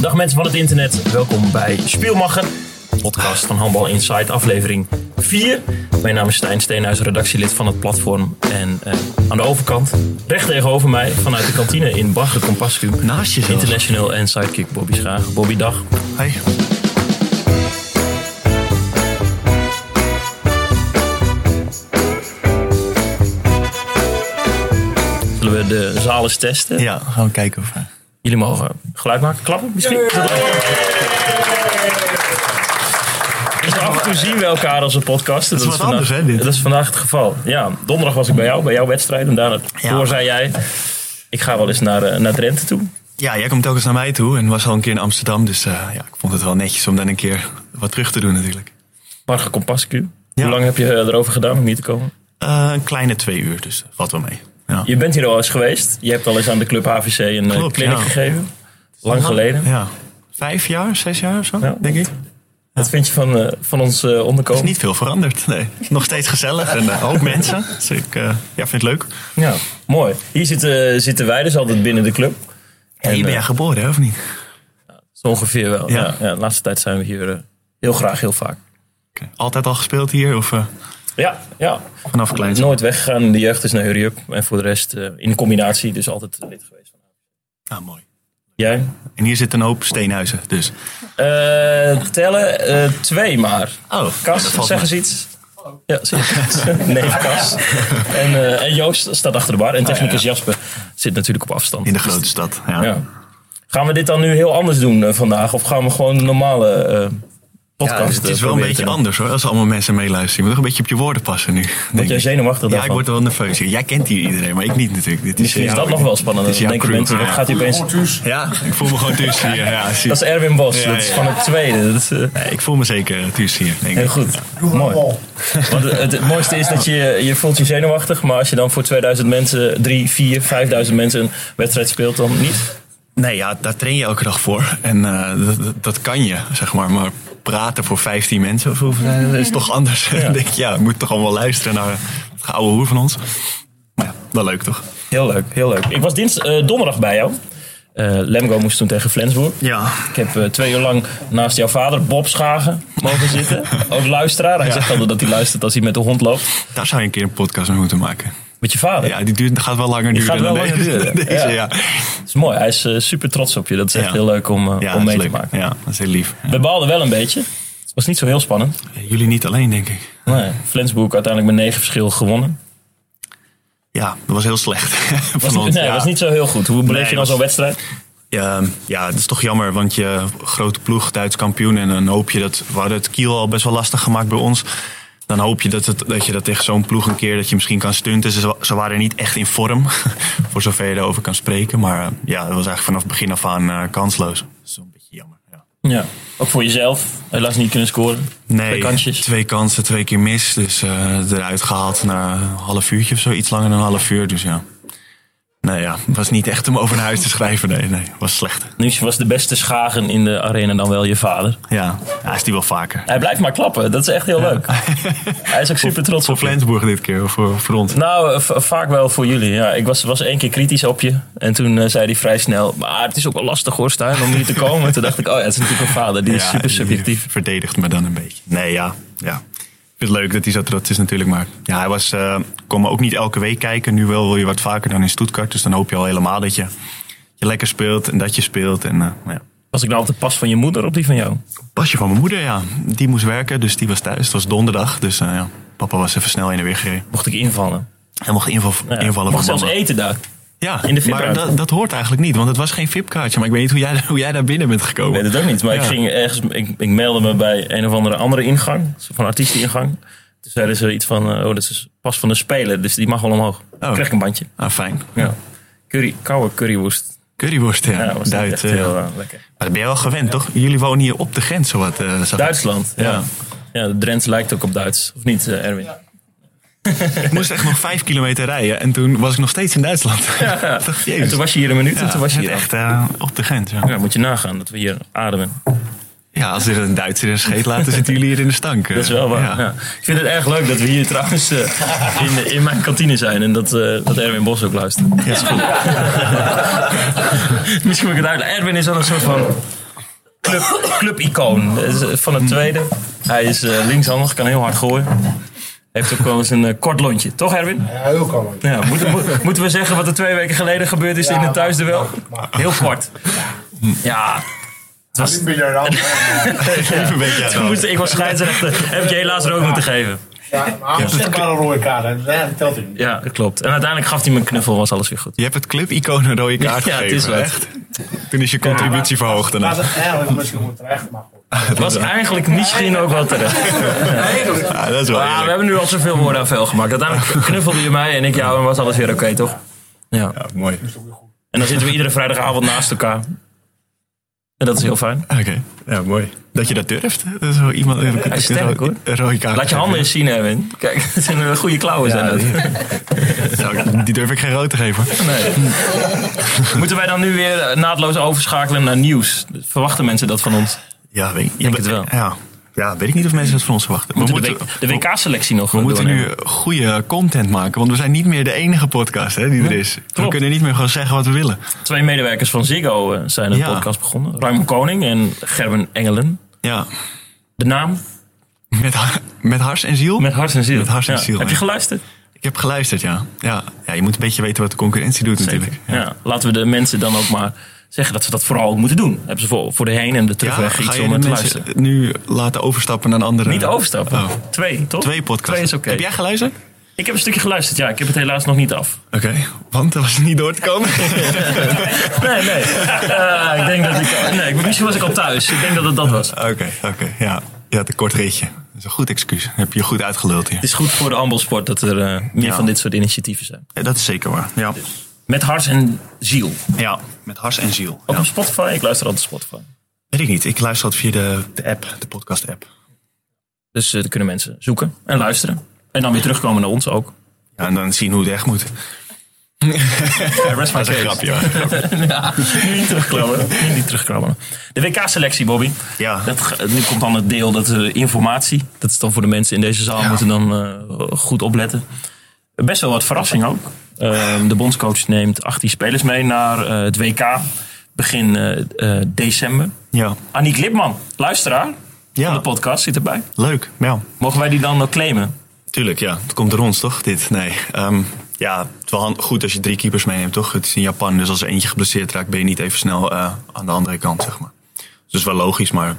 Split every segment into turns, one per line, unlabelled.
Dag mensen van het internet, welkom bij Spielmacher, de podcast van Handbal Insight, aflevering 4. Mijn naam is Stijn Steenhuis, redactielid van het platform. En eh, aan de overkant, recht tegenover mij, vanuit de kantine in Bagger Compascuum,
Naast je zelfs.
international en sidekick Bobby Schaag. Bobby, dag.
Hey.
Zullen we de zaal eens testen?
Ja, gaan we kijken of... eh,
Jullie mogen geluid maken, klappen misschien. Dus af en toe zien we elkaar als een podcast. Dat,
is wat
vandaag,
anders, hè, dit?
Dat is vandaag het geval. Ja, donderdag was ik bij jou, bij jouw wedstrijd. En daarna
Ja.
door zei jij, ik ga wel eens naar, eh, naar Drenthe toe.
Ja, jij komt telkens naar mij toe en was al een keer in Amsterdam. Dus eh, ja, ik vond het wel netjes om dan een keer wat terug te doen natuurlijk.
Marga Compascu.
Ja.
Hoe lang heb je eh, erover gedaan om hier te komen?
Eh, een kleine twee uur, dus valt wel mee. Ja.
Je bent hier al eens geweest. Je hebt al eens aan de club HVC een eh,
Klopt,
clinic
ja.
gegeven. Lang geleden.
Ja. Vijf jaar, zes jaar of zo,
Ja.
denk ik.
Wat vind je van, eh, van ons eh,
Er
onderkomen?
is niet veel veranderd, nee. Nog steeds gezellig en eh, ook mensen. Dus ik eh, ja, vind het leuk.
Ja, mooi. Hier zitten, zitten wij dus altijd binnen de club.
En,
En,
hier ben
eh,
jij geboren, hè, of niet?
Zo ongeveer wel. Ja.
Ja.
Ja, de laatste tijd zijn we hier eh, heel graag, heel vaak.
Oké. Altijd al gespeeld hier of eh,
Ja, ja.
vanaf kleins?
Nooit weggegaan. De jeugd is naar Hurry Up. En voor de rest eh, in combinatie, dus altijd lid geweest.
Ah, mooi.
Jij?
En hier zit een hoop steenhuizen, dus.
Oh, Eh, tellen eh, twee maar.
Oh, dat
Kas,
valt
zeg eens iets. Ja, zeg iets. Nee, Kas. En, eh, en Joost staat achter de bar. En technicus Jasper zit natuurlijk op afstand.
Oh, in de grote stad.
Ja. Gaan we dit dan nu heel anders doen eh, vandaag? Of gaan we gewoon de normale eh, podcast
Ja, Dus het
eh,
is wel een
proberen te
beetje
doen?
anders hoor, als allemaal mensen meeluisteren. Je moet toch een beetje op je woorden passen nu.
Word
denk
jij
ik.
zenuwachtig
Ja, ik
daarvan?
word wel nerveus. hier. Jij kent hier iedereen, maar ik niet natuurlijk. Dit
Misschien is
jouw-
dat nog wel spannender.
dit
Dan
is
denken
jouw crew.
mensen, wat
Ja.
gaat hij opeens...
Ja, ik voel me gewoon thuis hier. Ja, zie-
Dat is Erwin Bos,
Ja,
dat is
ja.
van het tweede. Dat is, eh,
Nee, ik voel me zeker thuis hier, denk
heel
ik.
goed. Mooi. Want het, het- het mooiste is dat je, je voelt je zenuwachtig, maar als je dan voor 2000 mensen, 3, 4, 5000 mensen een wedstrijd speelt, dan niet.
Nee, ja, daar train je elke dag voor. En eh, dat, dat- dat kan je, zeg maar. Maar praten voor 15 mensen of hoeveel zijn er, dat is toch anders. Dan denk ik, ja, je moet toch allemaal luisteren naar het oude hoer van ons. Maar ja, wel leuk toch?
Heel leuk, heel leuk. Ik was dins, eh, donderdag bij jou. Eh Lemgo moest toen tegen Flensburg.
Ja.
Ik heb eh, twee uur lang naast jouw vader, Bob Schagen, mogen zitten. Ook luisteraar. Hij zegt altijd dat hij luistert als hij met de hond loopt.
Daar zou je een keer een podcast mee moeten maken.
Met je vader.
Ja, die duurt, gaat wel langer duren
gaat wel
dan
langer
deze.
duren,
deze,
ja.
ja.
Dat is mooi. Hij is eh, super trots op je. Dat is echt
Ja.
heel leuk om, eh,
Ja,
om
dat
mee
is
te
leuk.
maken.
Ja, dat is heel lief. Ja.
We baalden wel een beetje. Het was niet zo heel spannend.
Jullie niet alleen, denk ik.
Nee, Flensburg uiteindelijk met negen verschil gewonnen.
Ja, dat was heel slecht.
Was
Van
niet,
ons,
nee,
ja.
was niet zo heel goed. Hoe beleef je
Nee,
dan
was-
zo'n wedstrijd?
Ja, ja, dat is toch jammer, want je grote ploeg, Duits kampioen... en dan hoop je dat... We hadden het Kiel al best wel lastig gemaakt bij ons. Dan hoop je dat, het, dat je dat tegen zo'n ploeg een keer... dat je misschien kan stunten. Ze, ze waren niet echt in vorm, voor zover je daarover kan spreken. Maar eh, ja, dat was eigenlijk vanaf het begin af aan eh, kansloos. Dat is wel een beetje jammer, ja.
Ja. Ook voor jezelf. Helaas niet kunnen scoren.
Nee,
Twee kansjes.
twee kansen, twee keer mis. Dus eh, eruit gehaald na een half uurtje of zo. Iets langer dan een half uur, dus ja. Nou ja, het was niet echt om over naar huis te schrijven. Nee, nee, het was slecht.
Nu was de beste schagen in de arena dan wel je vader.
Ja, ja is die wel vaker.
Hij blijft maar klappen. Dat is echt heel leuk. Hij is ook super trots
Voor
op je.
Flensburg dit keer, of voor, voor ons.
Nou, eh, va- vaak wel voor jullie. Ja, ik was, was één keer kritisch op je. En toen eh, zei hij vrij snel... Maar het is ook wel lastig hoor, Stijn, om hier te komen. toen dacht ik, oh ja, het is natuurlijk een vader. Die is
Ja,
super
die
subjectief.
Verdedigt me dan een beetje. Nee, ja. ja. Ik vind het leuk dat hij zo trots is natuurlijk. Maar ja, hij was, eh, kon me ook niet elke week kijken. Nu wel wil je wat vaker dan in Stuttgart. Dus dan hoop je al helemaal dat je, je lekker speelt en dat je speelt. En, eh, ja.
Was ik nou op de pas van je moeder op die van jou?
Pasje van mijn moeder, ja. Die moest werken, dus die was thuis. Het was donderdag, dus eh, ja. papa was even snel in de weg gereden.
Mocht ik invallen?
Hij mocht inval,
Ja.
invallen
Mocht
van
zelfs
mama.
eten daar.
ja,
in de VIP-ruimte.
maar dat, dat hoort eigenlijk niet, want het was geen VIP-kaartje. Maar ik weet niet hoe jij, hoe jij daar binnen bent gekomen.
Ik weet het ook niet, maar ik,
Ja.
ging ergens, ik, ik meldde me bij een of andere andere ingang, van artiesteningang. Toen zeiden ze iets van, eh, oh, dat is pas van een speler, dus die mag wel omhoog. Dan kreeg ik een bandje.
Ah, fijn.
Ja. Curry, koude currywoest.
Curryworst, ja.
Ja, dat was niet
Duit,
echt
eh,
heel eh, lekker.
Maar dat ben je wel gewend, toch? Jullie wonen hier op de grens, zowat. eh, zag ik.
Duitsland, ja. ja.
Ja.
de Drents lijkt ook op Duits, of niet eh, Erwin?
Ik moest echt nog vijf kilometer rijden en toen was ik nog steeds in Duitsland.
Ja.
Ik dacht, jezus.
En toen was je hier een minuut en toen was je
het
hier echt.
echt eh, op de grens, ja.
Ja, moet je nagaan dat we hier ademen.
Ja, als er een Duitser een scheet laten, zitten jullie hier in de stank. eh.
Dat is wel waar.
Ja.
ja. Ik vind het erg leuk dat we hier trouwens eh, in, in mijn kantine zijn en dat, eh, dat Erwin Bos ook luistert.
Ja, is goed.
Misschien moet ik het uitleggen. Erwin is wel een soort van club, clubicoon eh, z- van het tweede. Hij is eh, linkshandig, kan heel hard gooien. Heeft ook wel eens een eh, kort lontje. Toch, Erwin?
Ja, heel kalm.
Ja, moeten, mo- moeten we zeggen wat er twee weken geleden gebeurd is in het thuisduel? Heel kort. Ja,
Niet meer ramp.
Een beetje
toen moest ik was scheidsrechter. Heb ik je helaas rood moeten geven.
Ja, maar anders zeg maar een rode kaart. hè. Ja, dat telt hij niet.
Ja, dat klopt. En uiteindelijk gaf hij me een knuffel, was alles weer goed.
Je hebt het club-icoon een rode kaart
Ja, het
gegeven.
is wat.
echt. Toen is je contributie verhoogd daarna.
Maar dat eigenlijk misschien moet terecht, maar goed.
Het was eigenlijk misschien ook wel terecht.
Ja, Ah, dat
Maar
is wel
we
eerlijk.
hebben nu al zoveel woorden aan veel gemaakt. Uiteindelijk knuffelde je mij en ik jou en was alles weer oké, toch? Ja.
Ja, mooi.
En dan zitten we iedere vrijdagavond naast elkaar. En dat is heel fijn.
Oké, ja, mooi. Dat je dat durft. Dat is wel iemand
Hij is sterk, hoor.
Een rode kaart.
Laat je handen eens zien, Erwin. Kijk, het zijn eh, goede klauwen zijn dat.
Die durf ik geen rood te geven.
Nee. Moeten wij dan nu weer eh, naadloos overschakelen naar nieuws? Verwachten mensen dat van ons?
Ja, weet ik
Denk het wel.
Ja. ja, weet ik niet of mensen dat van ons verwachten.
Moeten
we
de
moeten,
W- de WK-selectie nog
we
eh,
moeten
doornemen?
nu goede content maken. Want we zijn niet meer de enige podcast hè, die er is. We
klopt.
kunnen niet meer gewoon zeggen wat we willen.
Twee medewerkers van Ziggo eh, zijn een
Ja.
podcast begonnen. Ruim Koning en Gerben Engelen.
Ja,
De naam?
met, ha- met hars en ziel.
Met hart en ziel.
Met hart en
Ja.
ziel,
Heb je
ja.
geluisterd?
Ik heb geluisterd, ja. ja. Ja, je moet een beetje weten wat de concurrentie doet natuurlijk.
Ja. laten we de mensen dan ook maar zeggen dat ze dat vooral ook moeten doen. Hebben ze voor, voor de heen en de terugweg
ga
iets
je
om
de
naar te
mensen
luisteren.
nu laten overstappen naar een andere...
Niet overstappen.
Oh.
Twee, toch?
Twee podcasts.
Twee is oké.
Heb jij geluisterd?
Ik heb een stukje geluisterd, ja. Ik heb het helaas nog niet af.
Oké, want dat was niet door te komen.
Nee, nee. Eh, ik denk dat ik... Nee, ik- misschien was ik al thuis. Ik denk dat het dat was.
Oké, oké, ja. Je had een kort ritje. Dat is een goed excuus. Heb je goed uitgeluld hier.
Het is goed voor de ambelsport dat er eh, meer
Ja.
van dit soort initiatieven zijn.
Ja, Dat is zeker waar. Ja,
Met hart en ziel. Ook
ja. Dus. met hars en ziel. Ja.
op Spotify. Ik luister altijd Spotify.
Weet ik niet. Ik luister dat via de, de app, de podcast app.
Dus eh, daar kunnen mensen zoeken en luisteren. En dan weer terugkomen naar ons ook.
Ja, en dan zien hoe het echt moet.
rest my
Dat is een
case.
grapje hoor.
Ja, niet terugkrabbelen. Niet terugkrabbelen. De WK-selectie, Bobby.
Ja.
Dat, ge- nu komt dan het deel dat eh, informatie. Dat is dan voor de mensen in deze zaal moeten dan eh, goed opletten. Best wel wat verrassing ook. Ehm, de bondscoach neemt 18 spelers mee naar eh, het WK begin eh, eh, december.
Ja,
Aniek Lipman, luisteraar van
ja.
de podcast, zit erbij.
leuk. Ja.
Mogen wij die dan nog claimen?
Tuurlijk, ja. Het komt door ons, toch? Dit, nee. Ehm, ja, het is wel hand- goed als je drie keepers meeneemt, toch? Het is in Japan, dus als er eentje geblesseerd raakt, ben je niet even snel eh, aan de andere kant, zeg maar. Dus wel logisch, maar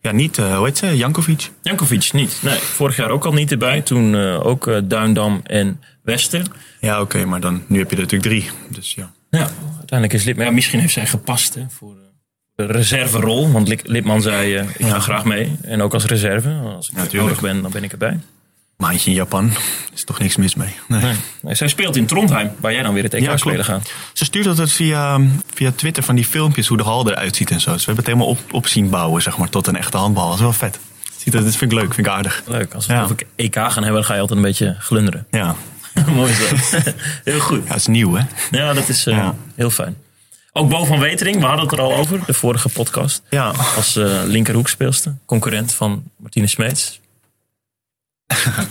ja, niet, eh, hoe heet ze? Jankovic?
Jankovic niet. Nee, vorig jaar ook al niet erbij. Toen eh, ook eh, Duindam en Wester.
Ja, oké, maar dan, nu heb je er natuurlijk drie. Dus ja.
Ja, uiteindelijk is Lipman. Ja, misschien heeft zij gepast hè, voor eh, de reserverol. Want Lip- Lipman zei: eh, Ik ga graag mee. En ook als reserve. Als ik nodig
tuurlijk.
ben, dan ben ik erbij.
Maandje in Japan, is toch niks mis mee. Nee.
Nee, zij speelt in Trondheim, waar jij dan weer het EK
klopt.
spelen gaat.
Ze stuurt altijd via, via Twitter van die filmpjes hoe de hal eruit ziet en zo. Dus we hebben het helemaal op, op zien bouwen, zeg maar, tot een echte handbal. Dat is wel vet. Ziet dat, dit vind ik leuk, vind ik aardig.
Leuk. Als we
Ja.
over EK gaan hebben, dan ga je altijd een beetje glunderen.
Ja,
Mooi is dat. Heel goed.
ja het is nieuw, hè?
Ja, dat is eh,
Ja.
heel fijn. Ook Bo van Wetering, we hadden het er al over, de vorige podcast.
Ja,
Als eh linkerhoekspeelster, concurrent van Martine Smeets.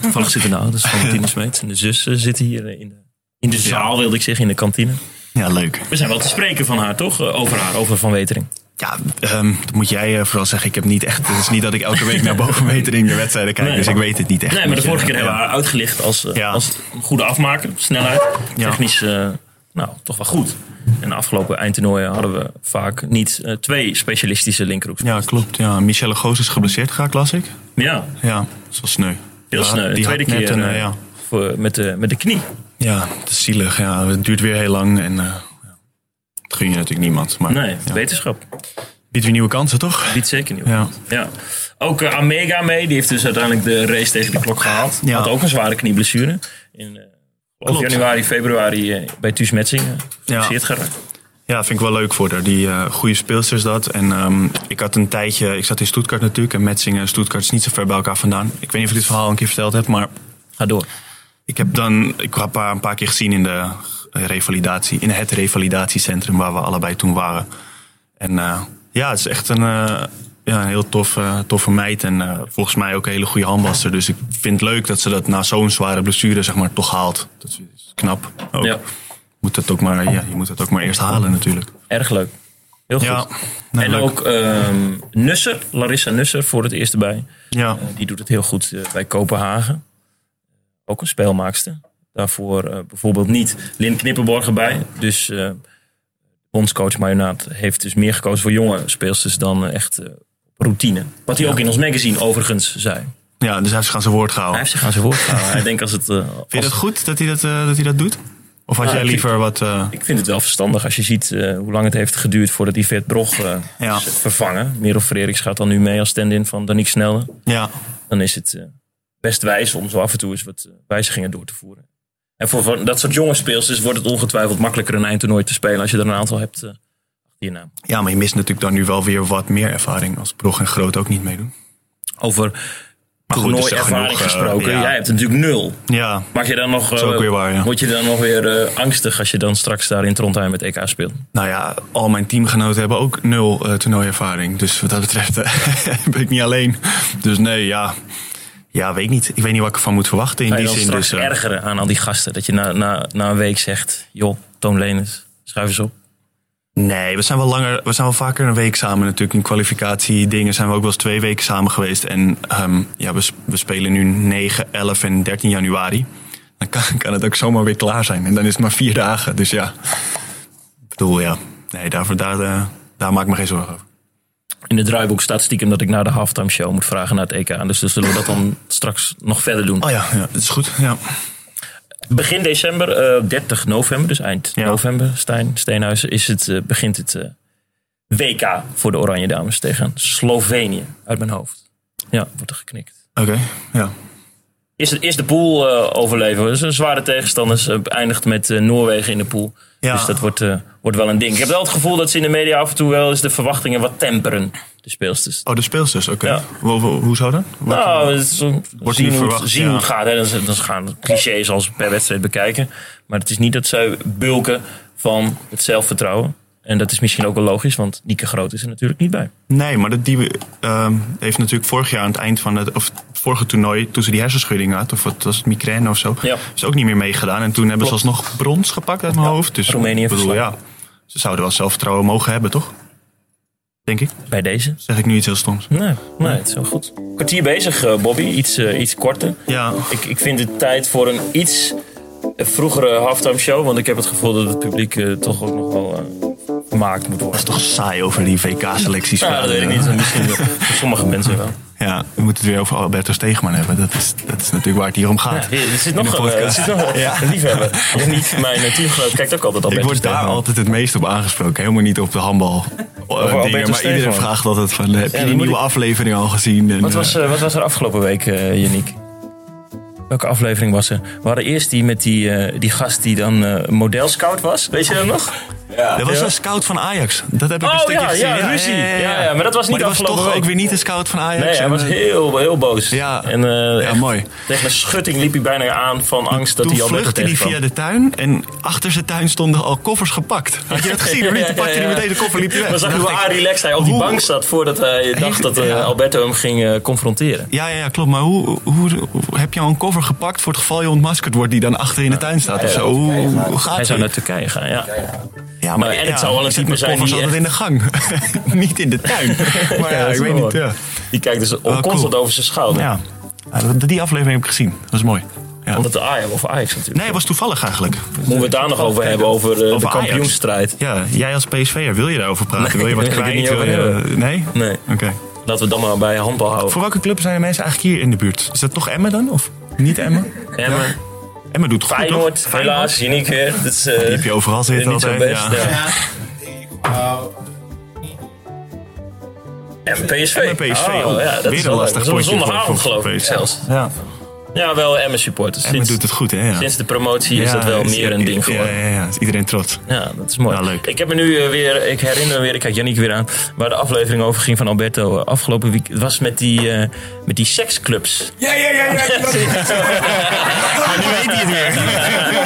Toevallig zitten nou, dus van Martine Smeets. En de zussen zitten hier eh, in de, in de zaal, wilde ik zeggen, in de kantine.
ja leuk.
We zijn wel te spreken van haar, toch? Eh, Over haar, over Van Wetering.
Ja, ehm, dat moet jij eh, vooral zeggen. Ik heb niet echt. Het is niet dat ik elke week naar boven meter in de wedstrijden kijk.
Nee.
Dus ik weet het niet echt.
Nee, maar de
Moet
vorige
je-
keer hebben we haar uitgelicht als, eh,
Ja.
als een goede afmaker. Snelheid,
Ja.
technisch, eh, nou, toch wel goed. En de afgelopen eindtoernooien hadden we vaak niet eh, twee specialistische linkerhoeks.
Ja, klopt. Ja, Michelle Goos is geblesseerd geraakt, las ik.
Ja,
Ja, dat is wel sneu.
heel
Ja,
snel. De
die
tweede
had net
keer
een,
eh,
eh, ja.
voor, met, de, met de knie.
ja, het is zielig. Ja, het duurt weer heel lang. En eh, ja. dat gun je natuurlijk niemand. Maar
Nee,
ja.
wetenschap.
biedt weer nieuwe kansen, toch?
Niet zeker nieuw.
Ja.
Ja. Ook eh, Amega mee, die heeft dus uiteindelijk de race tegen de klok gehaald.
Ja.
Had ook een zware knieblessure. In eh, geloof
Klopt.
januari, februari eh, bij Thuis Metsingen. Geblesseerd geraakt.
Ja, vind ik wel leuk voor haar. Die eh, goede speelster is dat. En ehm, ik had een tijdje, ik zat in Stuttgart natuurlijk. En Metsingen en Stuttgart is niet zo ver bij elkaar vandaan. Ik weet niet of ik dit verhaal een keer verteld heb, maar
Ga door.
Ik heb dan ik heb haar een paar keer gezien in de eh, revalidatie, in het revalidatiecentrum waar we allebei toen waren. En eh, ja, het is echt een, eh, ja, een heel toffe, toffe meid. En eh, volgens mij ook een hele goede handbaster. Dus ik vind het leuk dat ze dat na zo'n zware blessure zeg maar, toch haalt. Dat is knap. Ook.
Ja.
Moet dat ook maar, ja, je moet dat ook maar eerst halen natuurlijk.
Erg leuk. Heel goed.
Ja, nee,
en
leuk.
ook ehm, Nusser, Larissa Nusser voor het eerst erbij.
Ja,
Eh, die doet het heel goed eh, bij Kopenhagen. Ook een speelmaakster. Daarvoor eh, bijvoorbeeld niet Lynn Knippenborg erbij. Dus eh bondscoach Majonaat heeft dus meer gekozen voor jonge speelsters dan eh, echt eh, routine. Wat hij ook in ons magazine overigens zei.
ja, dus hij heeft zich aan zijn woord
Hij
gehouden.
heeft zich aan zijn woord gehouden. Hij denkt als het... eh,
Vind je
als-
dat goed dat hij dat, eh, dat, hij dat doet? Of had
Ja,
jij
ik-
liever wat... eh,
Ik vind het wel verstandig als je ziet eh, hoe lang het heeft geduurd voordat Yvette Brog eh,
Ja.
is vervangen. Merel Frederiks gaat dan nu mee als stand-in van Danique Snelle.
ja,
dan is het eh, best wijs om zo af en toe eens wat eh, wijzigingen door te voeren. En voor, voor dat soort jonge speelsters wordt het ongetwijfeld makkelijker een eindtoernooi te spelen als je er een aantal hebt eh, achter je naam.
ja, maar je mist natuurlijk dan nu wel weer wat meer ervaring als Brog en Groot ook niet meedoen.
Over
Maar goed, is er
toernooiervaring
genoeg, eh,
gesproken,
ja.
jij hebt natuurlijk nul.
Ja,
Maak je dan nog, eh,
is ook weer waar, ja.
Word je dan nog weer eh, angstig als je dan straks daar in Trondheim met EK speelt?
nou ja, al mijn teamgenoten hebben ook nul eh toernooiervaring. Dus wat dat betreft eh, ben ik niet alleen. Dus nee, ja. Ja, weet ik niet. Ik weet niet wat ik ervan moet verwachten in
Ga je
die
dan
zin.
straks
Dus, eh,
ergeren aan al die gasten? Dat je na, na, na een week zegt, joh, Toon Lenens, schuif eens op.
nee, we zijn, wel langer, we zijn wel vaker een week samen natuurlijk. In kwalificatie dingen zijn we ook wel eens twee weken samen geweest. En ehm, ja, we, s- we spelen nu 9, 11 en 13 januari. Dan kan, kan het ook zomaar weer klaar zijn. En dan is het maar vier dagen. Dus ja, ik bedoel, ja. Nee, daarvoor, daar, eh, daar maak ik me geen zorgen over.
In het draaiboek staat stiekem dat ik naar de halftime show moet vragen naar het EK. Dus, dus zullen we dat dan straks nog verder doen.
Oh ja, ja dat is goed. Ja.
Begin december, eh, 30 november, dus eind
Ja.
november, Stijn, Steenhuizen, is het, eh, begint het eh, WK voor de Oranje Dames tegen Slovenië uit mijn hoofd. Ja, wordt er geknikt.
Oké, ja.
Is, het, is de pool eh, overleven? Dus een zware tegenstanders eh, eindigt met eh, Noorwegen in de pool.
Ja.
Dus dat wordt, eh, wordt wel een ding. Ik heb wel het gevoel dat ze in de media af en toe wel eens de verwachtingen wat temperen, de speelsters.
Oh, de speelsters, oké.
Ja.
Ho- ho- Hoezo dan? Wat-
Nou, het is een-
Wordt
zien,
niet
hoe,
verwacht,
zien
ja.
hoe het gaat. Hè. Dan, is- dan gaan clichés als per wedstrijd bekijken. Maar het is niet dat zij bulken van het zelfvertrouwen. En dat is misschien ook wel logisch, want Nieke Groot is er natuurlijk niet bij.
Nee, maar dat die ehm, heeft natuurlijk vorig jaar aan het eind van het, of het vorige toernooi, toen ze die hersenschudding had, of het was het migraine of zo,
Ja.
is ook niet meer meegedaan. En toen hebben
Klopt.
ze alsnog brons gepakt uit mijn hoofd. Dus
Roemenië
ik bedoel, ja,
verslagen.
ze zouden wel zelfvertrouwen mogen hebben, toch? Denk ik.
Bij deze?
Zeg ik nu iets heel stoms.
Nee, nee het is wel goed. Kwartier bezig, eh, Bobby. Iets, eh, iets korter.
Ja,
Ik, ik vind het tijd voor een iets vroegere halftime show. Want ik heb het gevoel dat het publiek eh, toch ook nog wel eh, gemaakt moet worden.
toch saai over die VK-selecties.
Nou, dat weet ik niet. Misschien wel. voor sommige mensen wel.
Ja, we moeten het weer over Alberto Steegman hebben. Dat is, dat is natuurlijk waar het hier om gaat.
Ja, er zit
In
nog
de
een, eh, er
podcast.
zit nog een
Ja.
liefhebber. En niet mijn natuurgenoot kijkt ook altijd al
Ik word daar altijd het meest op aangesproken. Helemaal niet op de handbal. eh,
Alberto
dingen, maar iedereen
Stegeman.
vraagt altijd van... eh, Heb je
dan
die
moet
nieuwe
ik-
aflevering al gezien? En,
Wat
eh,
was, eh, wat was er afgelopen week, eh Yannick? Welke aflevering was er? We hadden eerst die met die, eh, die gast die dan eh modelscout was. Weet je dat nog?
eh, dat was
ja.
een scout van Ajax. Dat heb ik een
Oh
stukje
ja,
gezien.
ja, ruzie. Ja, ja, maar dat was niet
die was
afgelopen
toch
week.
ook weer niet een scout van Ajax.
Nee, hij
En,
was
eh,
heel, heel boos.
Ja.
en, eh,
ja,
echt
mooi.
Tegen een schutting liep hij bijna aan van angst dat
Toen
hij al
vluchtte hij via de tuin en achter zijn tuin stonden al koffers gepakt. Had je dat gezien? Of niet? Toen pakte hij meteen de koffer liep hij weg.
Maar zag je
Toen
hoe
dacht ik,
relaxed hij op die
hoe-
bank zat voordat hij dacht dat eh,
Ja.
Alberto hem ging eh, confronteren?
Ja, ja, ja, klopt. Maar hoe, hoe, hoe- heb je al een koffer gepakt voor het geval je ontmaskerd wordt die dan achter in de tuin staat of zo? Hoe, hoe gaat
Hij
het?
zou naar Turkije gaan, ja.
Ja,
Maar- en het zou wel een
ik zet
type
mijn
zijn
koffers
die
altijd in de gang. niet in de tuin. Maar ja,
dat is
ik weet
wel
niet.
mooi.
Ja. Ah,
Die kijkt dus
cool.
constant over zijn schouder.
Ja. Ja, dat- die aflevering heb ik gezien. Dat is mooi. Ja.
Omdat de Ajax of Ajax natuurlijk.
Nee, het was toevallig eigenlijk.
Moeten we het daar nog over hebben, over, eh, de
Oh, Over Ajax.
kampioensstrijd.
Ja, jij als PSV'er, wil je daarover
Nee,
praten? wil je wat
daar wil ik
kwijt?
niet
Wil
over
je, nee?
Nee,
Oké.
laten we het dan maar bij handbal houden.
Voor welke club zijn de mensen eigenlijk hier in de buurt? Is dat toch Emmen dan? Of niet Emmen?
Emmen,
Emmen doet het goed,
Feyenoord,
toch?
helaas, uniek weer. Dat is eh,
Die heb je overal zitten
niet zo
altijd.
best.
ja.
ja.
Eh,
En PSV.
Emmen PSV,
Oh,
oh,
ja, dat
weer
is
een
wel
lastig
leuk. Dat is wel
potje
Zondagavond
voor- voor
geloof ik
PSV.
zelfs.
Ja.
Ja, wel Emmen supporters.
Emmen
Sinds,
doet het goed, hè? Ja.
sinds de promotie is
Ja,
dat wel meer een ding geworden.
Ja, ja, ja. Is iedereen trots.
Ja, dat is mooi.
Nou, leuk.
Ik heb me nu eh, weer, ik herinner me weer, ik kijk Janniek weer aan, waar de aflevering over ging van Alberto eh, afgelopen week. Het was met die, eh, met die seksclubs.
Ja, ja, ja, ja.
Nu weet hij het weer.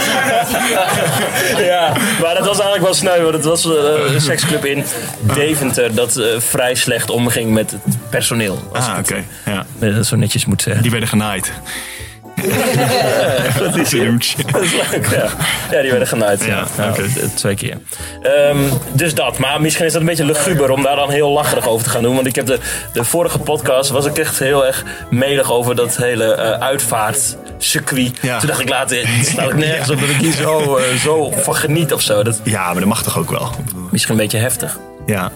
Ja, maar dat was eigenlijk wel sneu, want het was eh, een seksclub in Deventer dat eh, vrij slecht omging met het personeel. Als
Ah,
ik
oké.
het
Ja.
eh, zo netjes moet zeggen.
Die werden genaaid.
dat is Dat is leuk, ja. Ja, die werden genaaid. Ja,
Ja,
Nou,
oké.
t- Twee keer. Ehm, dus dat. Maar misschien is dat een beetje luguber om daar dan heel lacherig over te gaan doen. Want ik heb de, de vorige podcast, was ik echt heel erg melig over dat hele eh, uitvaartcircuit.
Ja.
Toen dacht ik later, het staat ik nergens op dat ik hier zo, eh, zo van geniet of zo. Dat is
Ja, maar dat mag toch ook wel? Ik bedoel,
misschien een beetje heftig.
Ja.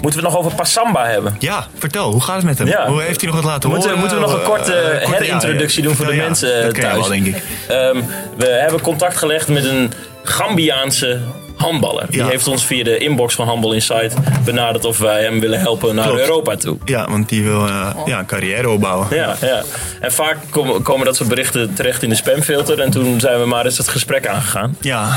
Moeten we het nog over Passamba hebben?
ja, vertel, hoe gaat het met hem?
Ja.
Hoe heeft hij nog wat laten
Moeten,
horen?
moeten we nog een
Eh,
korte
ja, ja.
herintroductie doen voor de
Ja, ja.
mensen eh,
Dat ken je
thuis?
wel, denk ik.
Ehm, we hebben contact gelegd met een Gambiaanse handballer. Die
Ja.
heeft ons via de inbox van Handbal Insight benaderd of wij hem willen helpen naar
Klopt.
Europa toe.
Ja, want die wil eh, ja, een carrière opbouwen.
Ja, ja. En vaak kom- komen dat soort berichten terecht in de spamfilter. En toen zijn we maar eens het gesprek aangegaan.
Ja,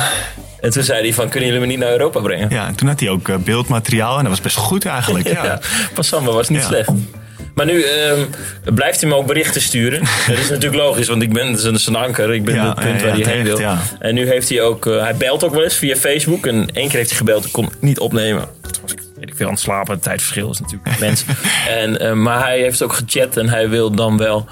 En toen zei hij van, kunnen jullie me niet naar Europa brengen?
ja en toen had hij ook eh, beeldmateriaal en dat was best goed eigenlijk. Ja.
Ja, Passamba was niet
Ja.
slecht. Maar nu ehm, blijft hij me ook berichten sturen. dat is natuurlijk logisch, want ik ben zijn, zijn anker. Ik ben
Ja,
het punt
ja, ja,
waar hij heen
terecht,
wil.
ja.
En nu heeft hij ook... eh, hij belt ook wel eens via Facebook. En één keer heeft hij gebeld. Ik kon het niet opnemen. Toen was ik, weet ik veel, aan het slapen. Het tijdverschil is natuurlijk mens. En, eh, maar hij heeft ook gechat. En hij wil dan wel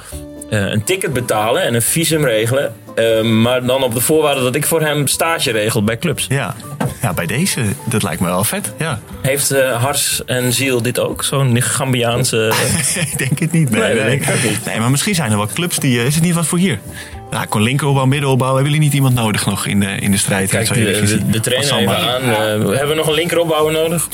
eh, een ticket betalen. En een visum regelen. Eh, maar dan op de voorwaarde dat ik voor hem stage regel bij clubs.
Ja. ja, bij deze, dat lijkt me wel vet. Ja.
Heeft eh, Hars en Ziel dit ook? Zo'n Gambiaanse... eh,
ik denk het niet. Nee,
Nee,
nee,
dat denk ik ook niet.
Nee, maar misschien zijn er wel clubs die. eh, is het niet wat voor hier? Ja, ik kon linkeropbouw, middenopbouw. Hebben jullie niet iemand nodig nog in de, in de strijd?
Kijk
Zo
de,
heb ik gezien.
de, de trainer
Samba.
even aan. Eh, hebben we nog een linkeropbouwer nodig?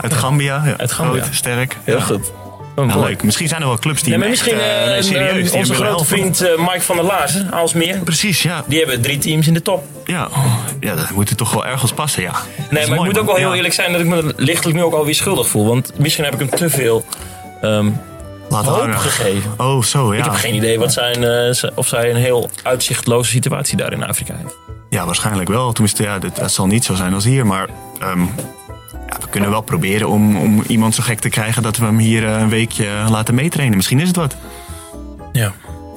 Uit Gambia. Ja.
Uit Gambia.
Groot, sterk.
Heel
Ja.
goed. Oh,
Nou,
mooi.
leuk. Misschien zijn er wel clubs die.
Nee, maar
hem
misschien
echt, eh,
eh,
nee, serieus, die
eh, onze
hem willen
grote
helpen.
vriend eh, Mike van der Laarzen, Aalsmeer.
Precies, ja.
Die hebben drie teams in de top.
Ja. Oh, ja, dat moet er toch wel ergens passen, ja. Dat is
Nee, maar
mooi,
ik moet ook
man.
wel heel
Ja.
eerlijk zijn dat ik me lichtelijk nu ook alweer schuldig voel. Want misschien heb ik hem te veel ehm,
Laat
hoop
hangen.
gegeven.
Oh, zo,
Ik
ja.
heb geen idee wat zijn, eh, z- of zij een heel uitzichtloze situatie daar in Afrika heeft.
Ja, waarschijnlijk wel. Tenminste, ja, dat, dat zal niet zo zijn als hier. Maar ehm, ja, we kunnen wel proberen om, om iemand zo gek te krijgen dat we hem hier eh, een weekje laten meetrainen. Misschien is het wat.
Ja.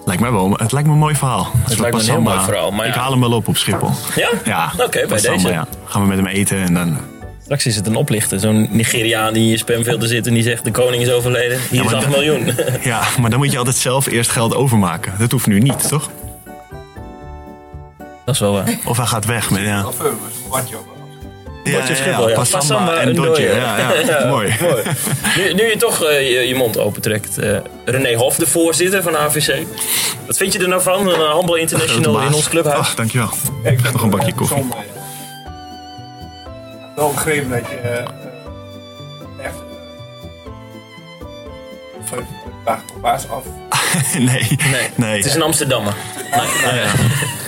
Lijkt mij wel, het lijkt me een mooi verhaal. Het
lijkt me een heel mooi verhaal, maar
Ik
ja.
haal hem wel op op Schiphol.
Ja?
Ja,
Oké, bij
Passamba,
deze.
ja. Gaan we met hem eten en dan...
Straks is het een oplichter. Zo'n Nigeriaan die in je spamfilter zit en die zegt de koning is overleden. Hier is
maar
8
dat-
miljoen.
Ja, maar dan moet je altijd zelf eerst geld overmaken. Dat hoeft nu niet, toch?
dat is wel waar.
Of hij gaat weg met... Ja,
Of eh, wat joh.
ja,
Potje Schiphol, ja.
Passamba
Passamba
en
en
Dodje.
Dodje.
Ja, ja. Mooi.
Mooi. Nu, nu je toch eh, je, je mond opentrekt. eh René Hof, de voorzitter van AVC. Wat vind je er nou van? Een handbal international in ons clubhuis.
Ach, Oh, dankjewel.
Ik
Nog een bakje koffie.
Soms, eh, Wel begrepen dat je eh, echt eh, vijf dagen op baas af.
nee, nee.
Het is een Amsterdammer.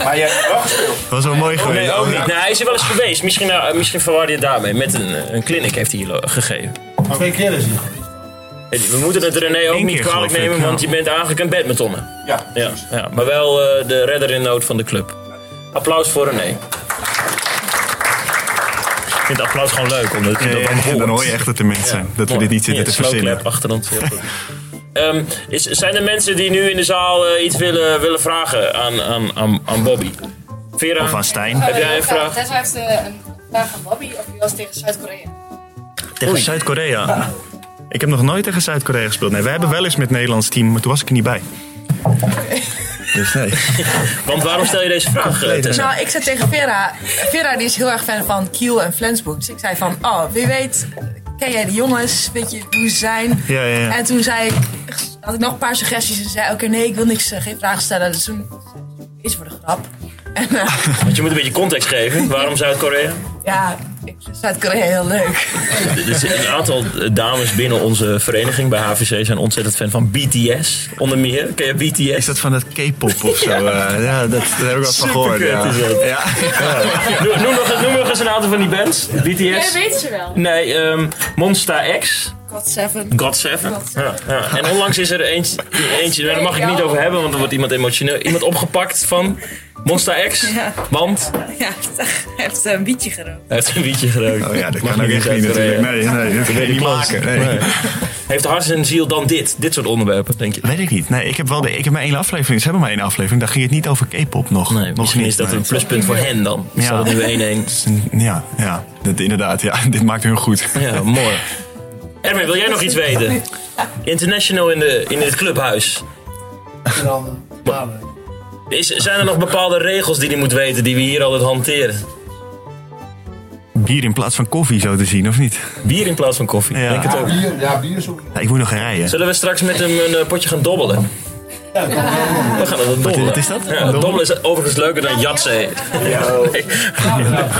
Maar je hebt wel gespeeld.
Dat was wel mooi geweest.
Nee, ook niet. Nee, hij is er wel eens geweest. Misschien, eh, misschien verwarde je het daarmee. Met een, eh, een clinic heeft hij hier lo- gegeven.
Twee keer is hij.
We moeten het René ook
Eén
niet
keer,
kwalijk
geloof ik,
nemen,
ja.
want je bent eigenlijk een badmintonner.
Ja.
Ja, ja, maar wel eh, de redder in nood van de club. Applaus voor René. Ik vind het applaus gewoon leuk, omdat je
Ja,
dat
ja,
dan
ja,
hoort.
dan hoor je echt dat de mensen zijn. Dat we
Mooi.
dit niet zitten
Ja,
te
slow
verzinnen.
clap achter ons. Heel goed. Ehm, is, zijn er mensen die nu in de zaal eh, iets willen, willen vragen aan, aan, aan, aan Bobby? Vera?
Of aan Stijn.
Oh,
Heb jij een vraag?
Tessa heeft eh, een vraag aan Bobby of hij was tegen Zuid-Korea.
Tegen Zuid-Korea. Ik heb nog nooit tegen Zuid-Korea gespeeld. Nee, wij hebben wel eens met het Nederlands team, maar toen was ik er niet bij. Dus nee.
Want waarom stel je deze vraag, eh, Tessa?
Nou, ik zei tegen Vera. Vera die is heel erg fan van Kiel en Flensburg. Dus ik zei van, oh, wie weet, ken jij die jongens? Weet je hoe ze zijn?
Ja, ja, ja.
En toen zei ik, had ik nog een paar suggesties en zei, oké, nee, ik wil niks, eh, geen vragen stellen. Dus toen is voor de grap. En eh,
Want je moet een beetje context geven. Waarom Zuid-Korea?
ja, ik vind Zuid-Korea heel leuk.
Er zijn een aantal eh, dames binnen onze vereniging bij HVC zijn ontzettend fan van BTS. Onder meer. Ken je BTS?
Is dat van dat K-pop of zo? Ja, ja dat, daar heb ik wat van gehoord.
Superkut is
Ja.
dat.
Ja.
Noem, noem nog, noem nog eens een aantal van die bands.
Jij
BTS.
weet ze wel.
Nee, ehm Monsta X.
God Seven.
God Seven.
God
Ja, ja. En onlangs is er eentje, eentje, daar mag ik niet over hebben, want dan wordt iemand emotioneel. Iemand opgepakt van Monsta X.
Ja.
Want
Ja, heeft eh, een bietje gerookt.
hij heeft een wietje gerookt.
Oh ja, dat
Mag
kan ook
niet
echt
uit
niet natuurlijk.
Korea.
Nee, nee, dat kan je niet maken. Nee.
Heeft hart en ziel dan dit? Dit soort onderwerpen, denk je?
Weet ik niet. Nee, ik heb wel de, ik heb maar één aflevering. Ze hebben maar één aflevering. Daar ging het niet over K-pop nog.
Nee,
nog
misschien
niet.
is dat
nee.
een pluspunt voor hen dan.
Ja.
Staat het nu 1-1.
Ja, ja. Dat, inderdaad. Ja, dit maakt hun goed.
Ja, mooi. Erwin, wil jij nog iets weten? International in, de, in het clubhuis.
En dan maanden.
Is, zijn er nog bepaalde regels die hij moet weten die we hier altijd hanteren?
Bier in plaats van koffie zo te zien, of niet?
Bier in plaats van koffie.
Ja.
Denk het ook.
bier, ja, bier is ook...
Ja, ik moet nog gaan rijden.
Zullen we straks met hem een eh, potje gaan dobbelen? We gaan het dobbelen.
wat is dat?
Ja, dobbelen is overigens leuker dan jatsen. Nee,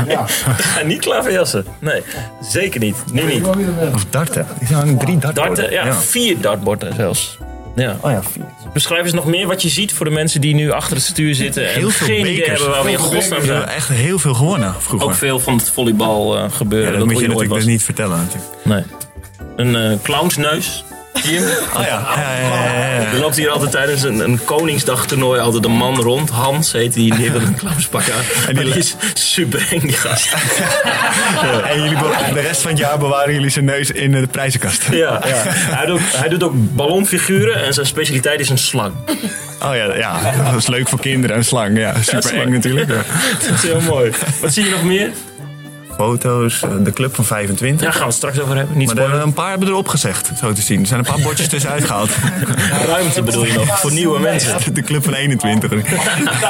Ja,
ga niet klaar voor jassen. Nee, zeker niet. Nu niet.
ik wil weer een...
Of darten. Er zijn drie dartborden.
Darten, ja, vier dartborden zelfs. Ja.
Oh ja, vier.
Beschrijf eens nog meer wat je ziet voor de mensen die nu achter het stuur zitten. En
Heel veel
geen idee
bekers.
hebben waar we in
Veel
godsnaam
We hebben
zijn.
echt heel veel gewonnen vroeger.
Ook veel van het volleybal eh, gebeuren.
Ja, dat,
dat
moet je
hoor nooit
natuurlijk
was.
best niet vertellen. Natuurlijk.
Nee. Een eh, clownsneus. Zie je hem?
Oh ja. Ja, ja, ja, ja, ja.
Er loopt hier altijd tijdens een, een Koningsdagtoernooi altijd een man rond. Hans heet die, die heeft een clownspak aan. En die,
le-
is super eng, die gast.
En jullie, be- de rest van het jaar bewaren jullie zijn neus in eh, de prijzenkast. Oh
Ja. Hij, doet, hij doet ook ballonfiguren en zijn specialiteit is een slang.
Oh ja, ja, dat is leuk voor kinderen. Een slang, ja. Super eng
slang.
natuurlijk. ja.
Dat is heel mooi. Wat zie je nog meer?
Foto's, eh, de club van 25.
Daar gaan we het straks over hebben. Niet
Maar er,
spoilen.
een paar hebben erop gezegd, zo te zien. Er zijn een paar bordjes tussenuit gehaald.
Ruimte bedoel je nog, voor nieuwe mensen.
De club van 21.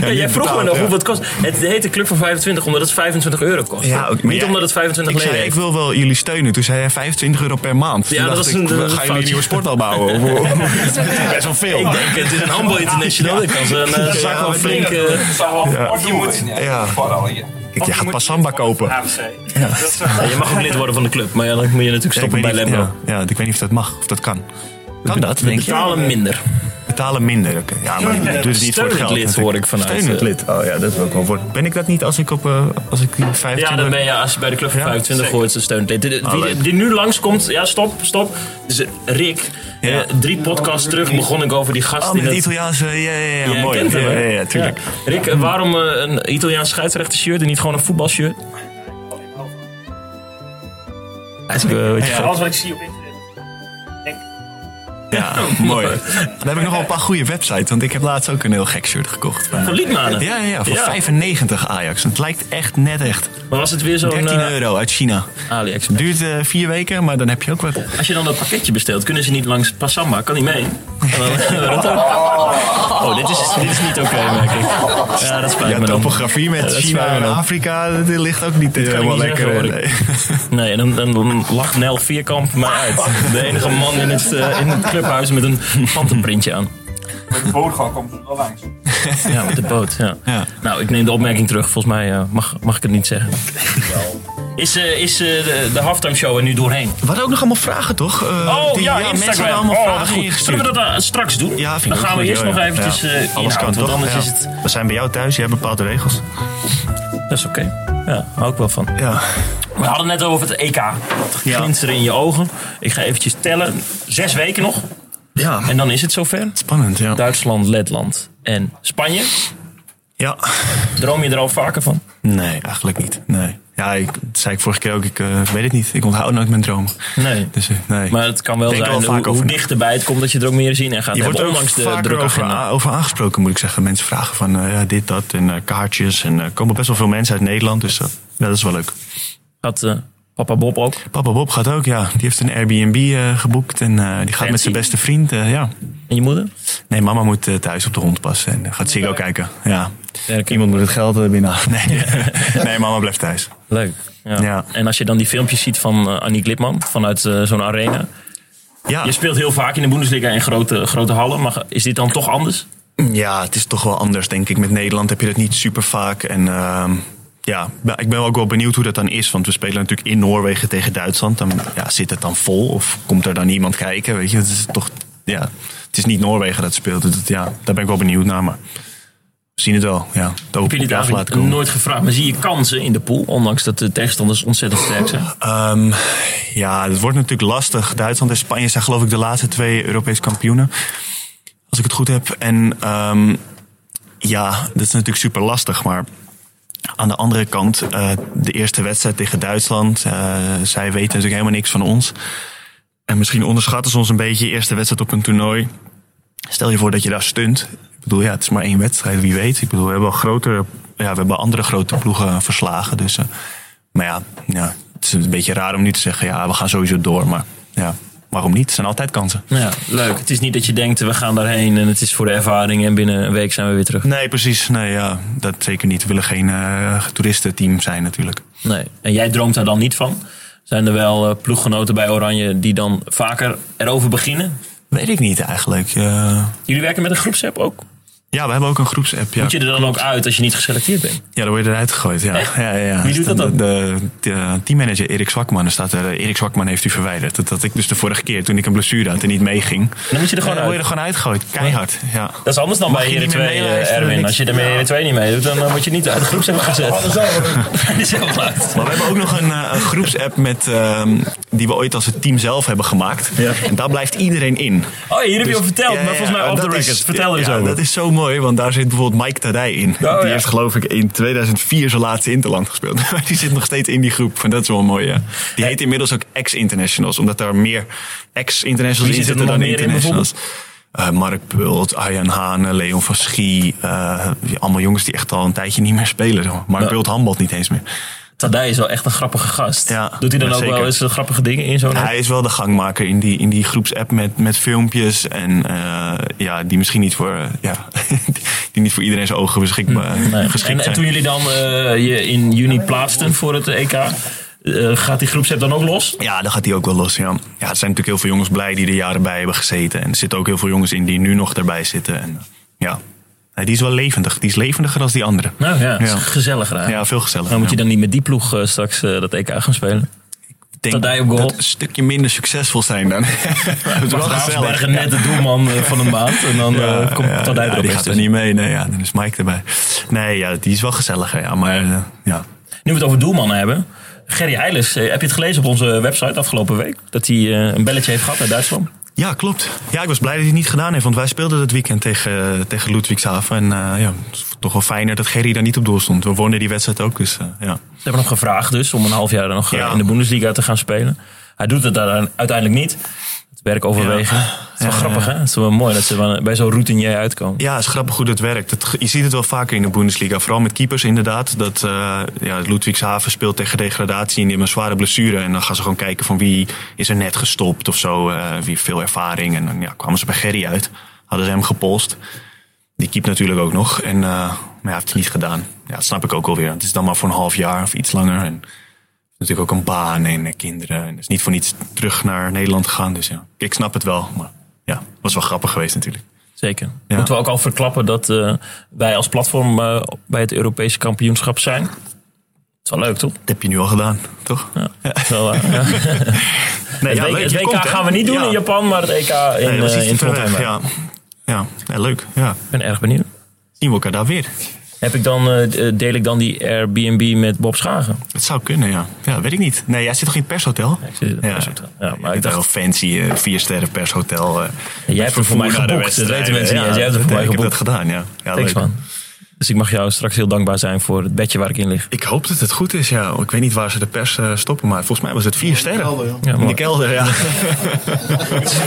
Ja, jij vroeg me
betaald,
nog
ja.
hoeveel het kost. Het heet de Club van 25 omdat het 25 euro kost.
Ja, ook- maar
Niet
jij-
omdat het 25
Ik
leden
zei, ik
heeft.
wil wel jullie steunen. Toen zei hij 25 euro per maand. Toen
Ja, dat
dacht
is een-
ik,
dat is een
gaan jullie
foutje.
een nieuwe sporthal bouwen? Of- of- Best wel veel.
Ik denk, het is een handbal international. Ik kan ze een eh, zak wel
maar
flink...
nee,
eh,
Je moet
Ja.
vooral hier.
Ik ja, gaat pas samba kopen.
AMC. Dat is echt-
je mag ook lid worden van de club, maar ja, dan moet je natuurlijk
Ik
stoppen
weet,
bij
niet,
Lembo.
ja, ja, ik weet niet of dat mag, of dat kan. Kan dat, denk je?
Betalen minder.
Betalen minder. oké. Ja, maar doe het niet voor
Steun het
het geld.
lid,
natuurlijk.
hoor ik vanuit,
Steun het
eh.
lid. Oh ja, dat wil ik wel worden. Ben ik dat niet als ik op eh, als ik 25
Ja, dan ben je, als je bij de Club van
Ja,
25
zeker.
hoort, ze steunt dit. Wie
Ah,
die,
leuk.
die nu langskomt, ja, stop, stop. Dus eh, Rick, eh,
Ja.
drie podcasts terug begon ik over die gast
Oh,
die
met
dat...
het Italiaanse. Ja, ja, ja,
Jij
mooi.
kent hem,
ja,
hè?
ja, ja, tuurlijk.
Ja. Rick, eh, waarom eh, een Italiaans scheidsrechtershirt en niet gewoon een voetbalshirt? Hij is ook, eh, weet je,
Alles wat ik zie op internet.
Ja, mooi. Dan heb ik nog wel een paar goede websites, want ik heb laatst ook een heel gek shirt gekocht.
Van Liedmanen.
Ja, ja, ja, voor
Ja.
95 Ajax. Het lijkt echt net echt.
Maar was het weer zo'n
13
eh,
euro uit China.
AliEx?
Duurt eh, vier weken, maar dan heb je ook wat.
Als je dan dat pakketje bestelt, kunnen ze niet langs Passamba, kan niet mee. En dan- rond dan- oh, dit is, dit is niet oké, merk ik. Ja, dat spijt
Ja,
me dan.
topografie met
Ja, dat
China
spijt me
en
dan.
Afrika, dat ligt ook niet eh,
kan ik
helemaal
niet
lekker. eh,
zeggen, hoor.
nee.
Nee, en dan, dan, dan lacht Nel Vierkamp mij uit. De enige man in het, eh, in het clubhuis met een pantenprintje aan.
Met de boot gewoon komt ze wel langs.
Ja, met de boot. Ja.
Ja.
Nou, ik neem de opmerking terug. Volgens mij eh, mag, mag ik het niet zeggen. Is, eh, is eh, de, de halftime show er nu doorheen?
We hadden ook nog allemaal vragen, toch? Eh,
Oh,
die- Oh, mensen hadden allemaal vragen
Zullen
ingestuurd.
we dat eh, straks doen?
Ja, vind ik
Dan
ook
gaan we
goed,
eerst
ja,
nog
ja.
eventjes
Ja.
eh,
Alles
inhoud,
kan
want
toch?
anders
Ja.
is het...
We zijn bij jou thuis, jij hebt bepaalde regels.
Dat is oké. Ja, hou ik wel van.
Ja.
We hadden het net over het EK. Het
Ja.
glinsteren in je ogen. Ik ga eventjes tellen. Zes weken nog.
ja.
En dan is het zover.
Spannend, ja.
Duitsland, Letland en Spanje.
Ja.
Droom je er al vaker van?
Nee, eigenlijk niet. Nee. Ja, ik dat zei ik vorige keer ook, ik eh, weet het niet. Ik onthoud nooit mijn droom.
Nee.
Dus, eh, nee.
Maar het kan wel
Denk er
zijn
wel
hoe,
vaak over
hoe
na.
dichterbij het komt dat je er ook meer zien en gaat
je wordt
hebben.
er ook
Ondanks de
vaak
drukke
over,
agenda.
a- over aangesproken, moet ik zeggen. Mensen vragen van eh, ja, dit, dat en eh, kaartjes. En eh, er komen best wel veel mensen uit Nederland, dus eh, ja, dat is wel leuk.
Had eh, papa Bob ook.
Papa Bob gaat ook, ja. Die heeft een Airbnb eh, geboekt en eh, die gaat met zijn beste vriend. eh, ja.
En je moeder?
Nee, mama moet eh, thuis op de hond passen en eh, gaat Ziggo kijken. Ja.
Sterk.
Iemand moet het geld eh, binnenhalen. Nee, nee, mama blijft thuis.
Leuk. Ja.
Ja.
En als je dan die filmpjes ziet van eh, Annie Glipman vanuit eh, zo'n arena.
Ja.
Je speelt heel vaak in de Bundesliga in grote, grote hallen, maar is dit dan toch anders?
Ja, het is toch wel anders, denk ik. Met Nederland heb je dat niet super vaak. En ehm, ja, maar ik ben ook wel benieuwd hoe dat dan is. Want we spelen natuurlijk in Noorwegen tegen Duitsland. Dan ja, zit het dan vol of komt er dan iemand kijken? Weet je, het is toch. Ja, het is niet Noorwegen dat speelt. Dus dat- ja, daar ben ik wel benieuwd naar. Maar we zien het wel. Ja, dat hoop
Heb je
ik
dit
af
eigenlijk
laten komen.
nooit gevraagd? Maar zie je kansen in de pool, ondanks dat de tegenstanders ontzettend sterk zijn?
Ehm, ja, het wordt natuurlijk lastig. Duitsland en Spanje zijn geloof ik de laatste twee Europees kampioenen. Als ik het goed heb. En ehm, ja, dat is natuurlijk super lastig. Maar aan de andere kant, eh, de eerste wedstrijd tegen Duitsland. eh, zij weten natuurlijk helemaal niks van ons. En misschien onderschatten ze ons een beetje. Eerste wedstrijd op een toernooi. Stel je voor dat je daar stunt. Ik bedoel, ja, het is maar één wedstrijd, wie weet. Ik bedoel, we hebben, wel grotere, ja, we hebben andere grote ploegen verslagen. Dus, eh, maar ja, ja, het is een beetje raar om nu te zeggen, ja, we gaan sowieso door. Maar ja, waarom niet? Er zijn altijd kansen.
Nou Ja, leuk. Het is niet dat je denkt, we gaan daarheen en het is voor de ervaring en binnen een week zijn we weer terug.
Nee, precies. Nee, ja, dat zeker niet. We willen geen eh, toeristenteam zijn natuurlijk.
Nee. En jij droomt daar dan niet van? Zijn er wel eh, ploeggenoten bij Oranje die dan vaker erover beginnen?
Weet ik niet eigenlijk. Eh,
Jullie werken met een groepsapp ook?
ja, we hebben ook een groepsapp. Ja,
Moet je er dan ook uit als je niet geselecteerd bent?
ja daar word je eruit gegooid. Ja. Ja, ja, ja. Dus
Wie doet dat dan?
De, de, de teammanager Erik Zwakman. Er staat er, eh, Erik Zwakman heeft u verwijderd. Dat had ik dus de vorige keer toen ik een blessure had en niet meeging.
Dan moet je er gewoon
Ja,
uit.
word je er gewoon uitgegooid. Keihard. Ja.
Dat is anders dan
Mag
bij
je
Heren
niet meer
2, eh,
meeluisteren,
Erwin.
niks.
Als je er met Heren 2 niet mee doet, dan eh, word je niet uit de groepsapp gezet. Die is heel uit.
Maar we hebben ook nog een, eh, een groepsapp met, ehm, die we ooit als het team zelf hebben gemaakt. En daar blijft iedereen in.
Oh, hier heb je al verteld,
Dus- Ja,
maar
ja,
volgens mij
ja,
off the
dat
record.
is-
Vertel er eens
ja,
over. Oh,
Dat is zo mooi, want daar zit bijvoorbeeld Mike Tadij in. die
ja.
heeft geloof ik in 2004 zijn laatste Interland gespeeld. Maar die zit nog steeds in die groep. En dat is wel mooi, ja. Die heet inmiddels ook ex-internationals, omdat daar meer ex-internationals
Wie
in
zit er
zitten
nog
dan
meer in,
internationals. Eh, Mark Pult, Arjan Hane, Leon van Schie. eh, die- allemaal jongens die echt al een tijdje niet meer spelen. zeg maar. Mark
Ja.
Pult handbalt niet eens meer.
Tadij is wel echt een grappige gast.
Ja,
Doet hij dan
ja,
ook wel
zeker.
eens grappige dingen in zo'n...
Hij is wel de gangmaker in die, in die groepsapp met, met filmpjes. En eh, ja, die misschien niet voor, eh, ja, die, die niet voor iedereen zijn ogen beschikbaar
Mm, Nee.
geschikt
En, en
zijn.
toen jullie dan eh, je in juni plaatsten voor het EK, eh, gaat die groepsapp dan ook los?
Ja, dan gaat hij ook wel los, ja. Ja, er zijn natuurlijk heel veel jongens blij die er jaren bij hebben gezeten. En er zitten ook heel veel jongens in die nu nog erbij zitten. En, eh, ja, Nee, die is wel levendig. Die is levendiger dan die andere.
Nou ja,
Ja.
gezellig gezelliger eigenlijk.
Ja, veel gezelliger.
Maar moet je
ja.
dan niet met die ploeg eh, straks eh, dat EK gaan spelen?
Ik denk
Tadij op goal?
dat we een stukje minder succesvol zijn dan. Het is wel gezellig.
Graafsbergen, net de doelman eh, van een maand. En dan eh,
Ja,
komt
ja,
Tadij er
ja, die
opeens
gaat er
tussen.
niet mee. Nee, ja, dan is Mike erbij. Nee, ja, die is wel gezelliger, ja. Maar eh, ja,
Nu we het over doelmannen hebben. Gerry Eilers, eh, heb je het gelezen op onze website afgelopen week? Dat hij eh, een belletje heeft gehad uit Duitsland?
Ja, klopt. Ja, ik was blij dat hij het niet gedaan heeft. Want wij speelden dat weekend tegen, eh, tegen Ludwigshaven. En eh, ja, het is toch wel fijner dat Gerry daar niet op doel stond. We wonnen die wedstrijd ook, dus eh, ja.
Ze hebben hem gevraagd dus om een half jaar nog eh,
Ja.
in de Bundesliga te gaan spelen. Hij doet het daar uiteindelijk niet. Het werk overwegen.
Ja.
Het is wel
Ja,
grappig
ja.
hè? Het is wel mooi dat ze wel bij zo'n routinier uitkomen.
Ja, het is grappig hoe dat werkt. Het- je ziet het wel vaker in de Bundesliga. Vooral met keepers inderdaad. Dat eh ja, Ludwigshaven speelt tegen degradatie en die hebben een zware blessure. En dan gaan ze gewoon kijken van wie is er net gestopt of zo. eh, wie heeft veel ervaring. En dan ja, kwamen ze bij Gerry uit. Hadden ze hem gepolst. Die keept natuurlijk ook nog. En, eh, maar ja, heeft het niet gedaan. Ja, dat snap ik ook alweer. Het is dan maar voor een half jaar of iets langer. En natuurlijk ook een baan en eh, kinderen. En is niet voor niets terug naar Nederland gegaan. Dus ja, ik snap het wel. Maar ja, was wel grappig geweest natuurlijk.
Zeker.
Ja.
Moeten we ook al verklappen dat eh, wij als platform eh, bij het Europese kampioenschap zijn? Het is wel leuk, toch?
Dat heb je nu al gedaan, toch?
Ja. Het is wel, eh, ja.
Nee,
het
ja,
WK,
leuk,
het
je
WK
komt, hè?
gaan we niet doen
Ja.
in Japan, maar het EK in,
Nee,
eh,
dat is iets
in
te ver
Trondheim.
weg, ja. Ja. ja, leuk. Ja.
Ik ben erg benieuwd.
Zien we elkaar daar weer?
Heb ik dan, eh, deel ik dan die Airbnb met Bob Schagen?
Het zou kunnen, ja. Ja, weet ik niet. Nee, jij zit toch in het pershotel?
ik zit in het pershotel. Ja, maar ik
ik dacht... Heel fancy, eh, vier sterren pershotel. eh,
Jij hebt het voor mij
vervoer naar de
geboekt, dat weten
wedstrijden.
mensen niet.
Ja,
eens. Jij hebt het voor mij
Ik heb dat
geboekt.
gedaan, ja. ja
Thanks
leuk.
man. Dus ik mag jou straks heel dankbaar zijn voor het bedje waar ik in lig.
Ik hoop dat het goed is, ja. Ik weet niet waar ze de pers eh, stoppen, maar volgens mij was het vier sterren.
kelder, ja.
Ja,
in
mooi.
de kelder, ja.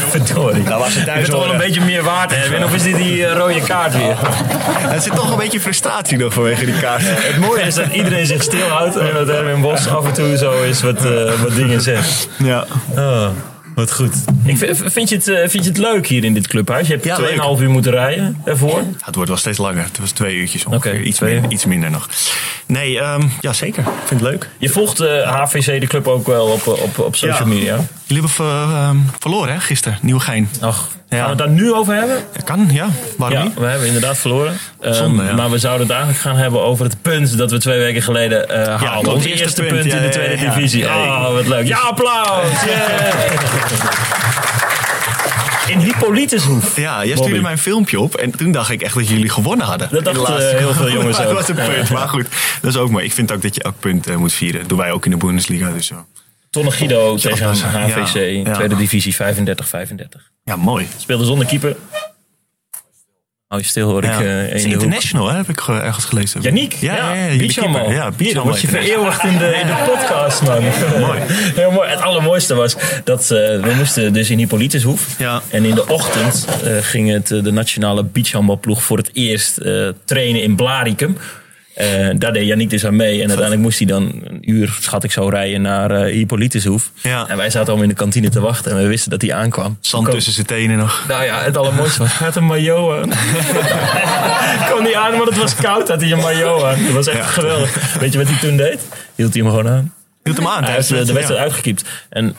Verdorie. Nou was het
thuis
toch wel
hoor,
een
hè?
beetje meer waard, Erwin? Of is dit die eh, rode kaart weer?
er zit toch een beetje frustratie nog vanwege die kaart.
Het mooie is dat iedereen zich stilhoudt en dat Erwin Bos af en toe zo is wat, eh, wat dingen zegt.
Ja. Ah.
Oh, wat goed. Ik vind, vind, je het, eh, vind je het leuk hier in dit clubhuis? Je hebt
Ja,
2,5 uur moeten rijden ervoor.
Ja, het wordt wel steeds langer. Het was twee uurtjes ongeveer.
Oké,
iets,
twee
minder,
uur.
iets minder nog. Nee, ehm, ja zeker. Ik vind het leuk.
Je volgt eh, HVC de club ook wel op, eh, op, op social
Ja.
media.
Jullie hebben eh, ehm, verloren hè, gisteren. Nieuwegein.
Ach,
Ja.
gaan we het daar nu over hebben?
Dat kan, ja. Waarom
Ja,
niet?
we hebben inderdaad verloren. Ehm,
Zonde, ja.
Maar we zouden het eigenlijk gaan hebben over het punt dat we twee weken geleden eh haalden.
klopt.
Ons
Eerste
eerste punt,
punt, ja,
in de
ja,
tweede
ja, ja.
divisie.
Ja.
Oh, wat leuk. Ja, applaus! Yeah. In Hippolytushoef.
Ja, jij
Bobby.
stuurde mij een filmpje op en toen dacht ik echt dat jullie gewonnen hadden.
Dat dachten eh,
In de laatste-
heel veel jongens
Maar
ook.
Het was een punt, maar goed. Dat is ook mooi. Ik vind ook dat je elk punt eh, moet vieren. Dat doen wij ook in de Bundesliga. Dus zo.
Tonne Guido tegen
dat is-
HVC,
ja, ja.
tweede divisie, 35-35.
Ja, mooi.
Speelde zonder keeper. Hou je stil hoor ik
Ja.
eh,
Het is
in de hoek.
international, hè, heb ik eh, ergens gelezen.
Yannick,
Ja, ja, ja, jullie
Bichamo.
keeper. Ja,
Dan word je
Bichamo.
vereeuwigd in de, in de podcast, man.
Mooi.
Heel mooi. Het allermooiste was dat eh, we moesten dus in Hippolytushoef.
Ja.
En in de ochtend eh, ging het, eh, de nationale beachhandbalploeg voor het eerst eh, trainen in Blaricum. Eh, Eh, daar deed Yannick dus aan mee. En uiteindelijk moest hij dan een uur, schat ik zo, rijden naar eh Hippolytushoef.
Ja.
En wij zaten allemaal in de kantine te wachten. En we wisten dat hij aankwam.
Zand
Kom-
tussen zijn tenen nog.
Nou ja, het allermooiste was, hij had een maillot aan. Kom niet aan, want het was koud, had hij een maillot aan. Dat was echt
Ja.
geweldig. Weet je wat hij toen deed? Hield hij hem gewoon aan.
Hield hem aan.
Hij heeft eh, de, de wedstrijd uitgekiept. En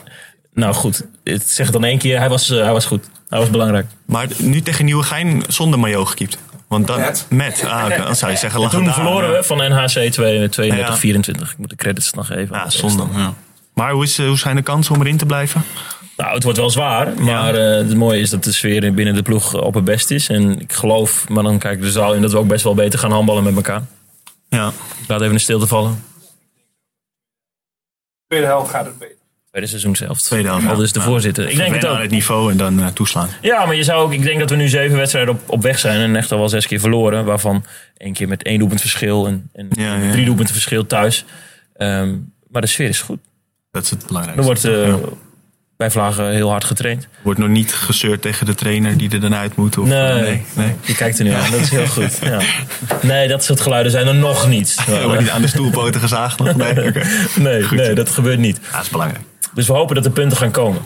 nou goed, het zeg het dan één keer. Hij was, eh, hij was goed. Hij was belangrijk.
Maar nu tegen Nieuwegein zonder maillot gekiept. Want dan, met.
Met.
Ah, oké, dan zou je zeggen,
Toen
legendaar,
verloren
ja.
we van NHC 32-24.
Ja.
eh, Ik moet de credits nog even.
Ja, zonde. Ja. Maar hoe, is, eh, hoe zijn de kansen om erin te blijven?
Nou, het wordt wel zwaar. Maar eh, het mooie is dat de sfeer binnen de ploeg eh, op het best is. En ik geloof, maar dan kijk ik de zaal in, dat we ook best wel beter gaan handballen met elkaar.
Ja.
Ik laat even een stilte vallen.
tweede helft gaat het beter.
Tweede seizoen zelf.
Tweede helft,
Al
ja.
dus de
Ja.
voorzitter. Ik denk het
Wennen aan
ook.
het niveau en dan eh, toeslaan.
Ja, maar je zou ook, ik denk dat we nu zeven wedstrijden op, op weg zijn. En echt al wel zes keer verloren. Waarvan één keer met één doelpunt verschil. En, en
Ja, ja.
drie doelpunten verschil thuis. Ehm, maar de sfeer is goed.
Dat is het
Er
belangrijkste.
wordt eh,
Ja.
bij Vlagen heel hard getraind.
Wordt nog niet gezeurd tegen de trainer die er dan uit moet? Of, eh,
Nee.
nee. nee.
Je kijkt er nu aan, dat is heel goed. Ja. Nee, dat soort geluiden zijn er nog niet.
Er wordt niet aan de stoelpoten gezaagd nog? Nee, oké. Ja,
Nee,
Goed.
nee, dat gebeurt niet.
dat is belangrijk.
Dus we hopen dat er punten gaan komen.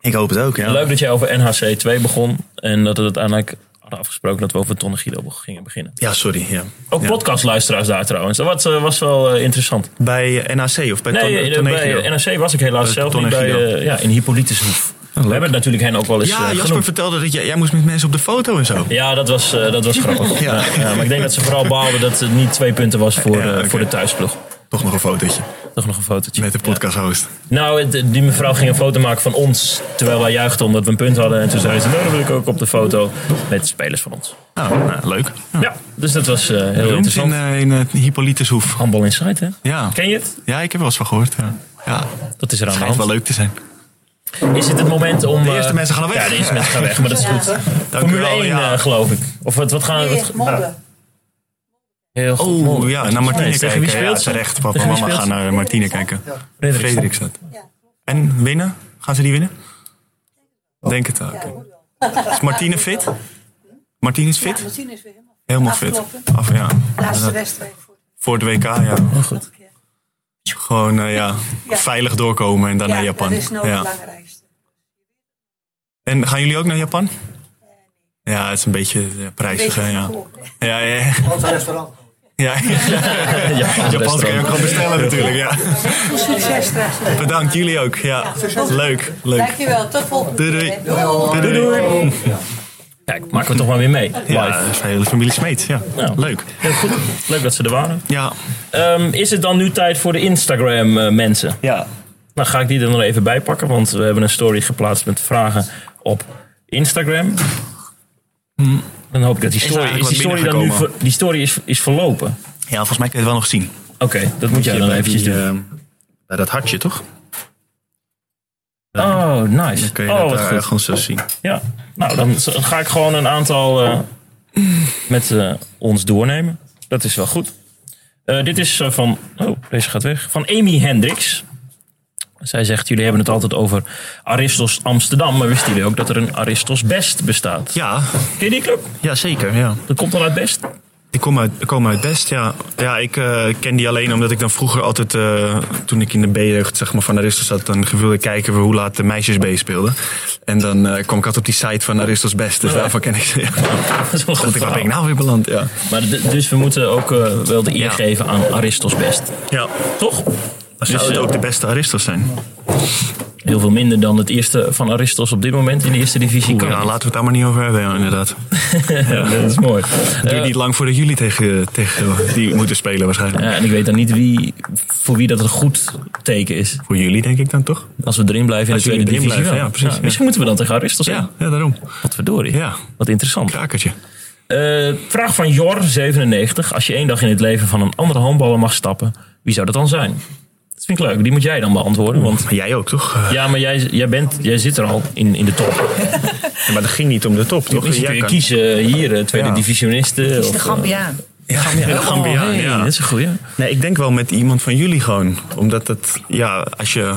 Ik hoop het ook, ja.
Leuk dat jij over NHC 2 begon. En dat we het uiteindelijk hadden afgesproken dat we over Ton en Guido gingen beginnen.
Ja, sorry. Ja.
Ook
Ja.
podcastluisteraars daar trouwens. Dat was, eh, was wel eh, interessant.
Bij eh, NAC of bij
Nee,
Ton-
eh,
Tonegio?
bij NAC was ik helaas
Eh,
zelf
Ton
niet
en
bij,
Guido.
eh, ja, in Hippolytushoef. We hebben het natuurlijk hen ook wel eens
Ja,
eh,
Jasper
genoemd.
vertelde dat jij, jij moest met mensen op de foto en zo.
Ja, dat was, eh, dat was grappig.
Ja.
Ja. ja, maar ik denk dat ze vooral baalden dat het niet twee punten was voor,
Ja,
eh,
oké.
voor de thuisploeg.
Toch nog een fotootje
Toch nog een fotootje.
met de
Ja.
podcasthost.
Nou, het- die mevrouw ging een foto maken van ons. Terwijl wij juichten omdat we een punt hadden. En toen zei ze, nou dan wil ik ook op de foto met spelers van ons.
Nou, nou, leuk. Ja.
Ja, dus dat was eh, heel
Beroemd in,
interessant.
eh, in het Hippolytushoef.
Handbal Insight, hè?
Ja.
Ken je het?
ja, ik heb er wel eens van gehoord. Ja. Ja, het
Dat is er aan de
schijnt wel
hand.
leuk te zijn.
Is het het moment om...
De eerste
eh,
mensen gaan al weg.
Ja, de eerste mensen gaan weg, maar dat is
Ja.
goed.
Dank u
Formule
wel,
1,
ja.
eh, geloof ik. Of wat, wat gaan we...
Nee,
Wat,
Molde.
heel goed.
Oh,
Molde.
ja, naar
Nee,
Martine
tegen
kijken.
wie speelt
ja,
ze?
terecht. Papa
Tegen
en
wie
mama
speelt
gaan
ze?
naar Martine kijken.
Frederiksen.
Frederikstad. En winnen? Gaan ze die winnen? Denk het wel. oké. Is Martine fit? Martine is fit?
Martine is weer helemaal
Helemaal fit. Af, ja.
laatste wedstrijd voor
Voor het WK, ja.
de keer.
Gewoon eh, ja, veilig doorkomen en dan naar Japan.
dat is nou het
ja.
belangrijkste.
En gaan jullie ook naar Japan? Ja, het is een beetje eh, prijzig. hè, ja. Ja, ja,
Groot restaurant.
ja. Japans kan je ook gewoon bestellen natuurlijk. Ja.
Veel succes straks.
Bedankt jullie ook. Ja. Leuk, leuk.
Dankjewel, tot volgende
Doei,
keer.
doei.
hè.
Doei, doei.
Kijk, maken we toch maar weer mee. Live.
Ja, dat is de hele familie Smeet. Ja.
Nou.
Leuk.
Heel goed. Leuk dat ze er waren.
Ja.
Ehm, is het dan nu tijd voor de Instagram eh, mensen?
ja.
Nou, ga ik die er nog even bij pakken, want we hebben een story geplaatst met vragen op Instagram. Dan hoop ik dat die
Is
story,
eigenlijk
is die
wat
story, dan nu
binnengekomen.
ver- die story is, is verlopen.
Ja, volgens mij kan je het wel nog zien. eh,
Oké, dat moet jij dan eventjes doen.
bij dat hartje, toch?
oh, nice.
Dan kun je
oh,
dat
wat
daar
goed.
gewoon zo zien.
Ja. Nou, dan z- ga ik gewoon een aantal eh,
Oh.
met eh, ons doornemen. Dat is wel goed. Eh, dit is eh, van... Oh, deze gaat weg. Van Amy Hendricks. Zij zegt, jullie hebben het altijd over Aristos Amsterdam. Maar wisten jullie ook dat er een Aristos Best bestaat?
Ja,
Ken je die club?
ja zeker. Ja.
Dat komt al uit Best.
Ik kom uit, ik kom uit Best, ja. Ja, ik eh, ken die alleen omdat ik dan vroeger altijd... eh, toen ik in de B-jeugd zeg maar, van Aristos zat... dan wilde ik kijken hoe laat de meisjes B speelden. En dan eh, kwam ik altijd op die site van Aristos Best. Dus daarvan ken ik ze. Ja.
Dat is wel
Dacht
goed.
ik, waar ben ik nou weer beland? Ja.
Maar d- dus we moeten ook eh, wel de eer
Ja.
geven aan Aristos Best.
ja.
Toch?
Dan zou
Dus,
het
eh,
ook de beste Aristos zijn.
Heel veel minder dan het eerste van Aristos op dit moment in de eerste divisie.
Oeh,
kan
ja,
niet.
laten we het daar maar niet over hebben, ja, inderdaad.
Ja, dat is mooi.
Het duurt
Eh,
niet lang voordat jullie tegen, tegen die moeten spelen waarschijnlijk.
ja, en ik weet dan niet wie, voor wie dat een goed teken is.
Voor jullie denk ik dan toch?
Als we erin blijven in
Als
de
jullie
tweede divisie.
erin blijven,
wel.
ja, precies, ja.
Misschien moeten we dan tegen Aristos
Ja,
in.
ja daarom.
Wat verdorie.
Ja.
Wat interessant.
Krakertje.
Eh, vraag van Jor97. Als je één dag in het leven van een andere handballer mag stappen, wie zou dat dan zijn? Dat vind ik leuk. Die moet jij dan beantwoorden. Want
Maar jij ook toch?
Ja, maar jij, jij, bent, jij zit er al in, in de top.
Ja, maar dat ging niet om de top, toch?
Dus je kun
Jij
je
kan-
kiezen hier, eh, tweede
Ja.
divisionisten.
Is de
Of,
Gambiaan.
Ja, de Gambiaan,
oh, hey,
ja.
Dat is een goeie.
Nee, ik denk wel met iemand van jullie gewoon. Omdat dat, ja, als je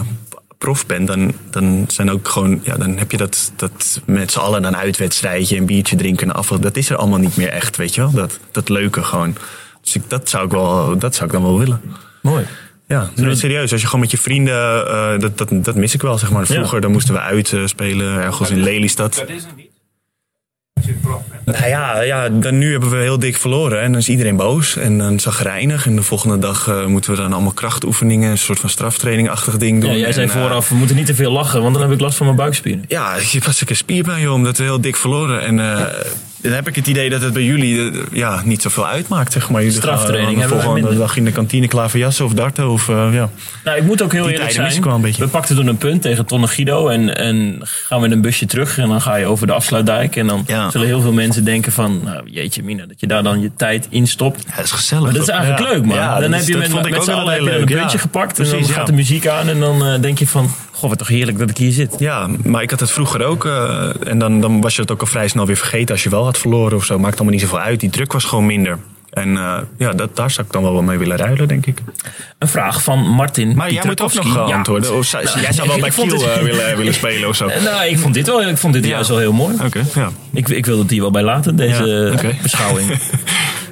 prof bent, dan, dan zijn ook gewoon, ja, dan heb je dat, dat met z'n allen dan uitwedstrijdje en biertje drinken en afval. Dat is er allemaal niet meer echt, weet je wel? Dat, dat leuke gewoon. Dus Dus ik, dat, zou ik wel, dat zou ik dan wel willen.
Mooi.
Ja, nee, serieus. Als je gewoon met je vrienden... eh, dat, dat, dat mis ik wel, zeg maar. Vroeger dan moesten we uit eh, spelen, ergens in Lelystad.
Dat is er niet. Als je prof bent.
Nou ja, ja dan nu hebben we heel dik verloren. En dan is iedereen boos en dan zagrijnig. En de volgende dag eh, moeten we dan allemaal krachtoefeningen... een soort van straftrainingachtig ding doen.
Ja, jij zei
En, eh,
vooraf, we moeten niet te veel lachen, want dan heb ik last van mijn buikspieren.
Ja, ik was ik een spier bij, joh, omdat we heel dik verloren. En eh, dan heb ik het idee dat het bij jullie eh, ja, niet zoveel uitmaakt, zeg maar. Jullie
Straftraining
gaan, eh, de
hebben wij
volgende
minder.
dag in de kantine klaverjassen of darten of... eh, ja.
Nou, ik moet ook heel
Die
eerlijk
tijden mis
zijn.
ik wel een beetje.
we pakten toen een punt tegen Tonne Guido. En, en gaan we in een busje terug. En dan ga je over de afsluitdijk. En dan
Ja.
zullen heel veel mensen denken van... Nou, jeetje mina, dat je daar dan je tijd in stopt.
Ja, dat is gezellig.
Maar dat is eigenlijk
Ja.
leuk, man.
Ja,
dan
dat
heb
is-
je
dat
met,
vond ik
met
ook
z'n
wel
allen heb
heel
je
leuk.
een puntje
ja.
gepakt. en
Precies,
dan
ja.
gaat de muziek aan. En dan eh, denk je van... Goh, wat toch heerlijk dat ik hier zit.
Ja, maar ik had het vroeger ook. eh, en dan, dan was je het ook al vrij snel weer vergeten als je wel had verloren of zo. Maakt allemaal niet zoveel uit. Die druk was gewoon minder. En eh, ja, dat, daar zou ik dan wel wat mee willen ruilen, denk ik.
Een vraag van Martin
Maar jij moet ook nog
Pieterkowski.
eh,
Ja. Oh, Nou,
antwoorden. Of, zou- jij zou wel
ik
bij
vond
Kiel
het-
eh, willen, willen spelen of zo. Oké,
Nou, ik vond dit wel, ik vond dit
Ja.
juist wel heel mooi.
ja.
Ik, ik wil het hier wel bij laten, deze
Ja, oké.
beschouwing.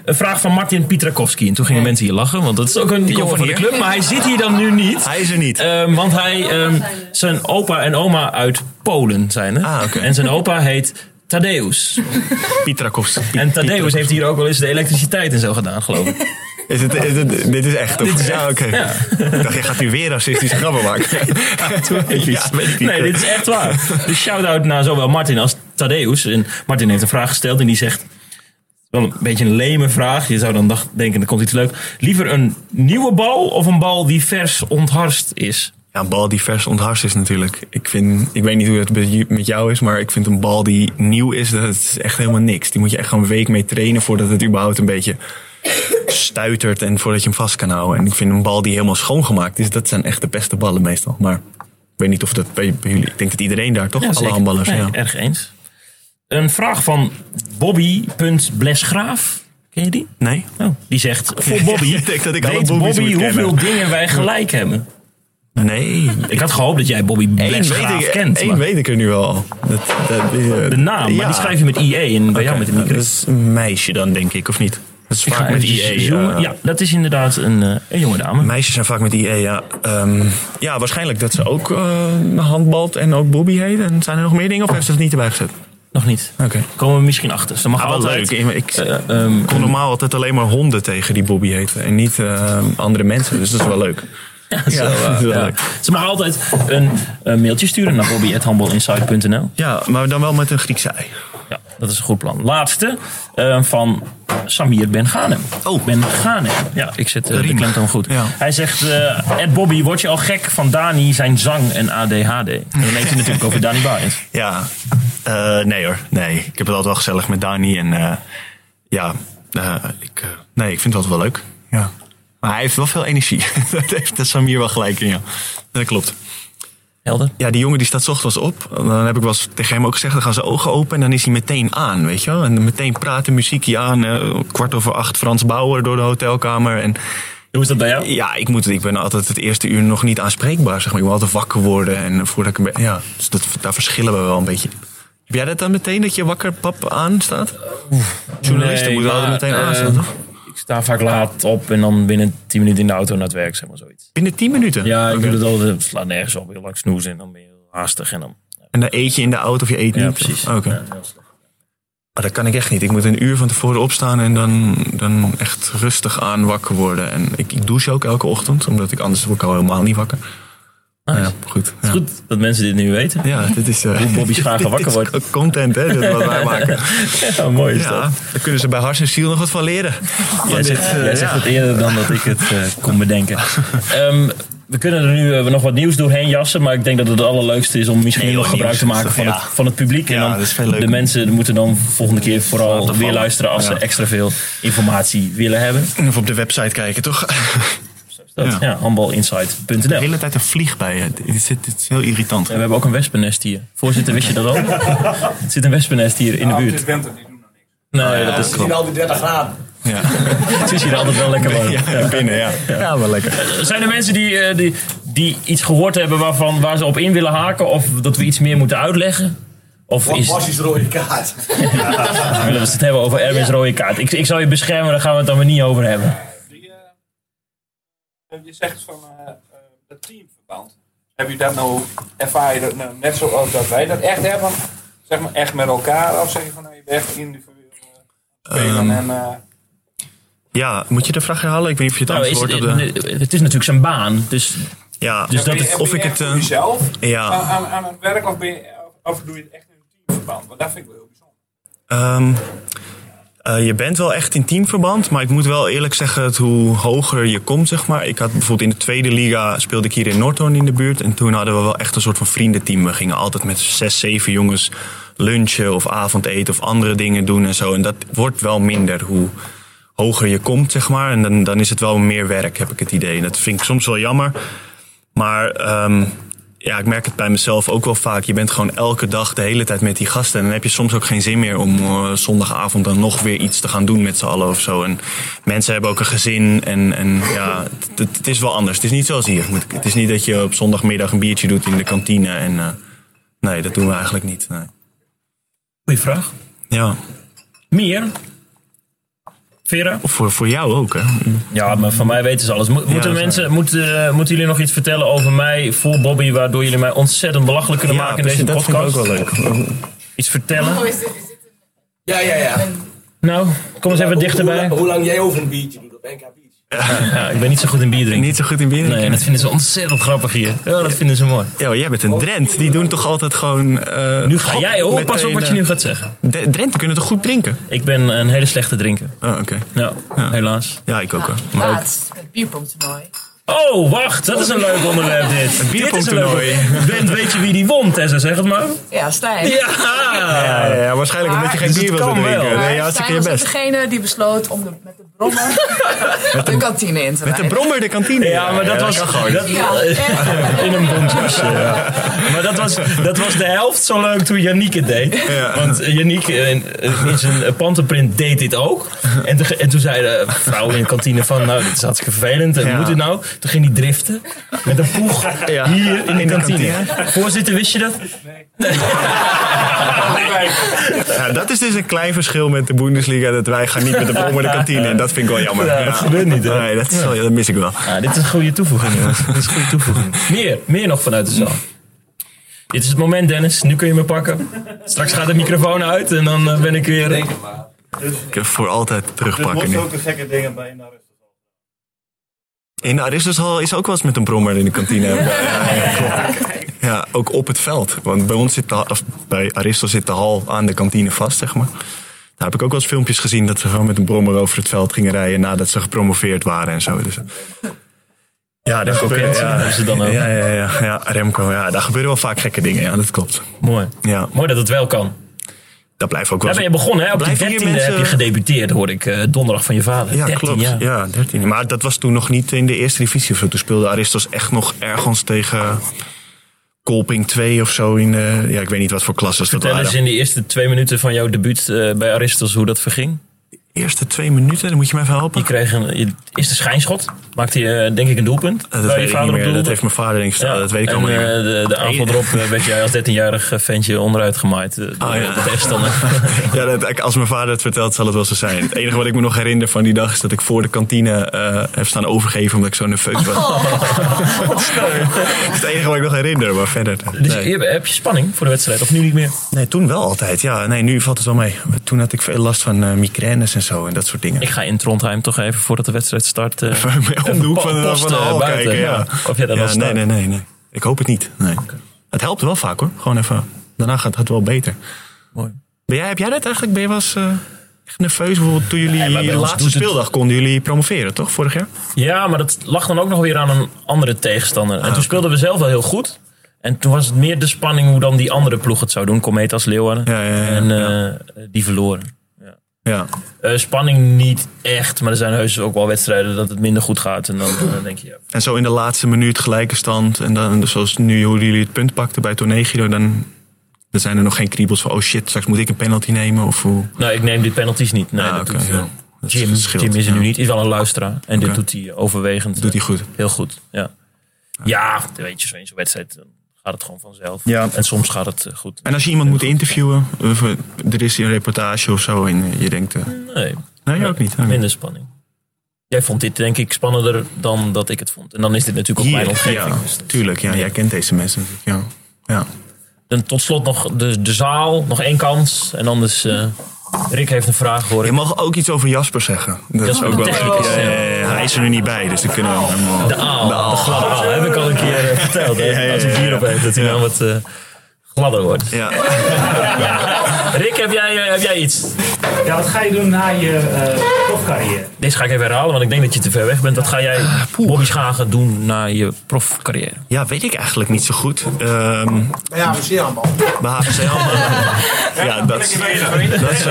Een vraag van Martin Pietrakovski. En toen gingen mensen hier lachen, want dat is ook een jongen van de
hier.
club. Maar hij zit hier dan nu niet.
Hij is er niet.
Ehm, want hij, ehm, zijn opa en oma uit Polen zijn er.
Ah, oké.
En zijn opa heet Tadeusz.
Pietrakovs.
Eh, En Tadeusz heeft hier ook wel eens de elektriciteit en zo gedaan, geloof ik.
Is het, is het- dit is echt. Dit is, ja, oké. Ik dacht, je gaat nu weer racistische grappen maken. ja, weet ik niet.
Nee, dit is echt waar. Dus shout-out naar zowel Martin als Tadeusz. En Martin heeft een vraag gesteld en die zegt... Wel een beetje een leme vraag. Je zou dan dacht, denken, er komt iets leuk. Liever een nieuwe bal of een bal die vers ontharst is?
Ja, een bal die vers ontharst is natuurlijk. Ik, vind, ik weet niet hoe het bij ju- met jou is, maar ik vind een bal die nieuw is, dat is echt helemaal niks. Die moet je echt gewoon een week mee trainen voordat het überhaupt een beetje stuitert en voordat je hem vast kan houden. En ik vind een bal die helemaal schoongemaakt is, dat zijn echt de beste ballen meestal. Maar ik weet niet of dat bij, bij jullie... Ik denk dat iedereen daar toch? Alle
zeker.
handballers,
Nee,
ja.
Erg eens. Een vraag van Bobby.blesgraaf. Ken je die?
Nee?
Oh, die zegt, voor Bobby,
Ik denk dat ik alle
weet
Bobby's
Bobby
moet kennen.
hoeveel dingen wij gelijk hebben.
Nee.
Ik had gehoopt dat jij Bobby
Eén
Blesgraaf
weet, ik,
kent.
één
maar-
weet ik er nu wel. al. Dat, dat,
De naam, maar die schrijf je met IE en bij jou met een
nou,
micro.
Dat is een meisje dan, denk ik, of niet? Dat is
Ik ga
vaak met
eventjes
IE.
zoomen.
eh,
ja, dat is inderdaad een, eh, een jonge dame.
Meisjes zijn vaak met IE, ja. Ehm, ja, waarschijnlijk dat ze ook eh, handbalt en ook Bobby heet. En zijn er nog meer dingen of heeft ze het niet erbij gezet?
Nog niet.
Oké.
Komen we misschien achter. Dus dan mag
Ah, wat
altijd.
leuk. Ik- ik-
eh, ehm,
Ik kon normaal altijd alleen maar honden tegen die Bobby heten. En niet eh, andere mensen, dus dat is wel leuk.
zo, eh,
dat is wel
ja.
leuk.
Ze mag altijd een eh, mailtje sturen naar bobby.handbalinsight.nl.
Ja, maar dan wel met een Griekse ei.
Ja, dat is een goed plan. Laatste eh, van Samir Ben Ghanem.
Oh.
Ben Ghanem. Ja, ik zet eh, de
Riem.
klemtoon goed.
Ja.
Hij zegt, eh, Ed Bobby, word je al gek van Dani, zijn zang en ADHD? En dan heeft hij natuurlijk over Dani Baaiens.
Ja, eh, nee hoor. Nee, ik heb het altijd wel gezellig met Dani. En eh, ja, eh, ik, eh, nee, ik vind het altijd wel leuk. Ja. Maar hij heeft wel veel energie. dat heeft dat Samir wel gelijk in, ja. Dat klopt.
Helder?
Ja, die jongen die staat 's ochtends op. Dan heb ik wel eens tegen hem ook gezegd, dan gaan zijn ogen open en dan is hij meteen aan, weet je wel. En dan meteen praten, muziekje aan. eh, kwart over acht Frans Bauer door de hotelkamer. En
Hoe is dat bij jou?
ja, ik, moet, ik ben altijd het eerste uur nog niet aanspreekbaar, zeg maar. Ik wil altijd wakker worden en voordat ik... een be- Ja, dus dat, daar verschillen we wel een beetje. Heb jij dat dan meteen, dat je wakker pap aanstaat? Journalisten
Nee,
moeten altijd
maar,
meteen
eh,
aanstaan, toch?
Ik sta vaak laat op en dan binnen 10 minuten in de auto naar het werk, zeg maar zoiets.
Binnen tien minuten?
Ja, ik
Oké.
doe het altijd, het slaat nergens op, heel lang snoezen en dan ben je heel haastig en dan...
En dan eet je in de auto of je eet
Ja,
niet?
precies.
Oké.
Ja, heel slecht.
Maar dat kan ik echt niet. Ik moet een uur van tevoren opstaan en dan, dan echt rustig aan wakker worden. En ik, ik douche ook elke ochtend, omdat ik anders word ik al helemaal niet wakker. Nou Ja, goed. Ja.
Goed dat mensen dit nu weten.
Ja, dit is... eh,
Hoe Bobby Schagen
dit- dit
wakker
is Content, hè, dit wat wij maken.
Ja, mooi is
Ja,
dat.
Dus daar kunnen ze bij Hars en Ziel nog wat van leren. Van
Jij
dit,
zegt,
eh,
jij
ja.
zegt het eerder dan dat ik het eh, kon bedenken. Ehm, we kunnen er nu eh, nog wat nieuws doorheen jassen, maar ik denk dat het het allerleukste is om misschien
Heel
nog gebruik
nieuws,
te maken van,
ja.
het, van het publiek. En
Ja,
dan
dat is veel leuker.
de mensen moeten dan volgende keer vooral
Laten
weer
vallen.
luisteren als
Ja.
ze extra veel informatie willen hebben.
Even op de website kijken, toch?
Dat, ja.
Ja. De
handbalinsight.nl.
hele tijd een vlieg bij je. Dit is, dit is heel irritant.
En we hebben ook een wespennest hier. Voorzitter, wist je dat al? er zit een wespennest hier in de
Nou, Het
buurt.
is winter, die doen dat niet.
Nee, dat is
al die 30 graden.
Ja,
Het is hier altijd wel lekker warm.
ja binnen, ja. Ja, wel lekker.
Zijn er mensen die, eh, die, die iets gehoord hebben waarvan, waar ze op in willen haken? Of dat we iets meer moeten uitleggen? Of
Wat
is,
was die rode kaart?
willen we het hebben over Erwin's rode kaart? Ik, ik zal je beschermen, daar gaan we het dan weer niet over hebben.
Die, eh, je zegt van eh, eh, dat teamverband. Heb je dat nou, ervaar je dat nou net zoals dat wij dat echt hebben? Zeg maar echt met elkaar? Of zeg je van nou, je bent echt individueel eh, spelen
Ehm,
en... eh,
Ja, moet je de vraag herhalen? Ik weet niet of je het
Nou, is,
antwoord
het,
op de...
het is natuurlijk zijn baan, dus
Ja,
dus dat
ben je-
is-
ben
of
je
ik
echt
het,
voor
eh,
jezelf aan,
ja
aan, aan het werk of, ben je, of doe je het echt in een teamverband? Want dat vind ik wel heel bijzonder.
ehm, eh, je bent wel echt in teamverband, maar ik moet wel eerlijk zeggen dat hoe hoger je komt, zeg maar. Ik had bijvoorbeeld in de tweede liga speelde ik hier in Noordhoorn in de buurt. En toen hadden we wel echt een soort van vriendenteam. We gingen altijd met zes, zeven jongens lunchen of avondeten of andere dingen doen en zo. En dat wordt wel minder hoe hoger je komt, zeg maar. En dan, dan is het wel meer werk, heb ik het idee. En dat vind ik soms wel jammer. Maar ehm, ja, ik merk het bij mezelf ook wel vaak. Je bent gewoon elke dag de hele tijd met die gasten. En dan heb je soms ook geen zin meer om eh, zondagavond dan nog weer iets te gaan doen met z'n allen of zo. En mensen hebben ook een gezin. En, en ja, het, het- het is wel anders. Het is niet zoals hier. Moet ik- Het is niet dat je op zondagmiddag een biertje doet in de kantine. En eh, nee, dat doen we eigenlijk niet. Nee.
Goeie vraag.
Ja,
Meer? Vera?
of voor, voor jou ook, hè?
Ja, maar van mij weten ze alles. Mo- moeten,
dat is
mensen, moeten, eh, moeten jullie nog iets vertellen over mij voor Bobby, waardoor jullie mij ontzettend belachelijk kunnen maken in
precies,
deze
dat vind ik
podcast? Oh.
ook wel leuk.
Iets vertellen?
Oh, is dit, is dit een...
Ja, ja, ja.
Nou, kom eens even
Hoe-
dichterbij.
Hoe, hoe lang jij over een biertje doet op NK Beach?
Ja, ik ben niet zo goed in bier drinken.
Niet zo goed in bier?
Nee, dat vinden ze ontzettend grappig hier. Ja, dat vinden ze mooi.
Ja, maar jij bent een Drent. Die doen toch altijd gewoon... eh,
Nu ga jij, oh, pas op
meteen,
wat je
eh,
nu gaat zeggen.
D- Drenten kunnen toch goed drinken?
Ik ben een hele slechte drinker.
Oh, oké.
Ja, helaas.
Ja, ik ook wel.
Laatst, het bierpongtoernooi.
Oh, wacht, dat is een leuk onderwerp dit. Een
bierpongtoernooi.
Bent, weet je wie die won, Tessa, zeg het maar.
Ja, Stijn.
Ja!
Ja, ja, waarschijnlijk omdat je
Maar dus
geen
het
bier wilde
kan wel.
drinken.
Maar
Nee, ja,
Maar
hartstikke
Stijn
je
was ook
best.
degene die besloot om de, met de brommer de kantine in te rijden.
De brommer de kantine.
Ja, maar dat was...
kan gewoon.
dat-
Ja, echt.
in een bontjasje, ja. Maar dat was, dat was de helft zo leuk toen Yannick het deed. Want Yannick eh, in, in zijn pantenprint deed dit ook. En, toen- en toen zei de vrouw in de kantine van... Nou, dit is hartstikke vervelend. En
Ja.
moet dit nou? Toen ging hij driften. Met een poeg
Ja.
hier in de,
de
kantine. Voorzitter, wist je dat?
Ja, dat is dus een klein verschil met de Bundesliga. Dat wij gaan niet met de brommer de kantine. En dat vind ik wel jammer.
Ja, dat gebeurt niet, hè?
Nee, dat, is wel- dat mis ik wel.
Ja, Ah, dit is een goede toevoeging, jongens. Dit is een goede toevoeging. Meer, meer nog vanuit de zaal. Dit is het moment, Dennis. Nu kun je me pakken. Straks gaat de microfoon uit en dan eh, ben ik weer...
Ik heb voor altijd
Dus
terugpakken
moest
nu.
ook de gekke dingen bij in de rust.
In de Aristoshal is ook wel eens met een brommer in de kantine. Ja, klopt. ja, ook op het veld. Want bij ons zit de, of bij Aristo zit de hal aan de kantine vast, zeg maar. Daar heb ik ook wel eens filmpjes gezien dat ze gewoon met een brommer over het veld gingen rijden nadat ze gepromoveerd waren en zo. Dus, ja, daar gebeuren
Concurrentie
ja,
hebben ze dan ook.
Ja, ja, ja, ja, Remco, ja, daar gebeuren wel vaak gekke dingen. Ja, dat klopt.
Mooi.
Ja,
Mooi dat het wel kan.
daar blijven ook wel.
Daar ben je begonnen, hè? Op de
Blijven hier
13e heb
mensen-
je gedebuteerd, hoorde ik eh, donderdag van je vader.
Ja,
13
klopt.
jaar.
Ja, 13. Maar dat was toen nog niet in de eerste divisie of zo. Toen speelde Aristos echt nog ergens tegen Kolping 2 of zo. In de, ja, ik weet niet wat voor klasses dat
Vertel eens
waren.
in de eerste twee minuten van jouw debuut eh, bij Aristos hoe dat verging.
eerste twee minuten, dan moet je me even helpen.
Je kreeg een, je eerste schijnschot. Maakte je eh, denk ik een doelpunt.
Eh,
waar
dat
je
weet ik niet
op
meer.
doelde.
Dat heeft mijn vader denk ik
Ja,
staan. Dat weet ik
en,
allemaal niet meer.
eh, de, de aanval erop eh, werd jij als 13-jarig ventje onderuit gemaaid. eh, door
Ah, ja.
de tegenstander.
Ja, dat, als mijn vader het vertelt, zal het wel zo zijn. Het enige wat ik me nog herinner van die dag is dat ik voor de kantine eh heb staan overgeven omdat ik zo nerveus was.
Oh.
dat is het enige wat ik nog herinner, maar verder.
Dus
nee.
je- heb je spanning voor de wedstrijd? Of nu niet meer?
Nee, toen wel altijd. Ja, nee, nu valt het wel mee. Maar Toen had ik veel last van eh, migraines en zo en dat soort dingen.
Ik ga in Trondheim toch even voordat de wedstrijd start. eh,
Om de hoek
po-
van de, van
posten
de hal
eh, buiten,
kijken. Ja.
Of jij dat
ja,
al staat.
nee, nee, nee, nee. Ik hoop het niet. Nee. Het helpt wel vaak hoor. Gewoon even. Daarna gaat het wel beter.
Mooi.
Ben jij, heb jij dat eigenlijk? Ben je was echt nerveus? Bijvoorbeeld toen jullie
Nee, maar bij
de
ons
laatste
doet het-
speeldag konden jullie promoveren, toch? Vorig jaar?
Ja, maar dat lag dan ook nog weer aan een andere tegenstander.
Ah,
En toen speelden we zelf wel heel goed. En toen was het meer de spanning hoe dan die andere ploeg het zou doen. Cometas Leeuwarden.
Ja, ja, ja, ja.
En eh, die verloren.
Ja.
Eh, spanning niet echt, maar er zijn heus ook wel wedstrijden dat het minder goed gaat. En dan eh, denk je, ja,
En zo in de laatste minuut gelijke stand. En dan dus zoals nu hoe jullie het punt pakten bij Tornegiro, dan, dan zijn er nog geen kriebels van oh shit, straks moet ik een penalty nemen of hoe.
nou ik neem die penalties niet. Nee,
Ah,
dat
oké,
doet,
ja. Dat
Jim,
scheelt,
Jim is er
ja.
nu niet, is wel een luisteraar. En dit
Oké.
doet hij overwegend. eh,
Doet hij goed.
Heel goed, ja. Ja, weet je, zo'n zo'n wedstrijd. dan gaat het gewoon vanzelf.
Ja.
En soms gaat het eh, goed.
En als je iemand moet interviewen, of, eh, er is een reportage of zo en eh, je denkt... eh,
Nee,
nee, ook niet. ook niet.
minder spanning. Jij vond dit denk ik spannender dan dat ik het vond. En dan is dit natuurlijk ook mijn
Hier,
omgeving.
ja,
Dus dat-
tuurlijk. Ja, jij kent deze mensen natuurlijk. Ja. Ja.
Dan tot slot nog de, de zaal, nog één kans. En anders, eh, Rick heeft een vraag hoor.
Je
ik.
mag ook iets over Jasper zeggen. Dat is
Jasper
ook wel
de
goed.
technicus,
Ja,
ja.
ja, ja, ja. Hij is er nu niet bij, dus dan kunnen we hem...
De aal, Ah, de, gladde aal. Heb ik al een keer eh, verteld. hè?
Nou. Ja, ja, ja,
Als ik
ja.
hierop heeft, dat hij
Ja.
dan wat eh, gladder wordt.
Ja.
Rick, heb jij, eh, heb jij iets?
Ja, wat ga je doen na je eh profcarrière?
Deze ga ik even herhalen, want ik denk dat je te ver weg bent. Wat ga jij,
Ah,
Bobby Schagen, doen na je profcarrière?
ja, weet ik eigenlijk niet zo goed. Ehm
Ja, we zien allemaal.
bij HVC Almelo. Ja, dat is... Dat is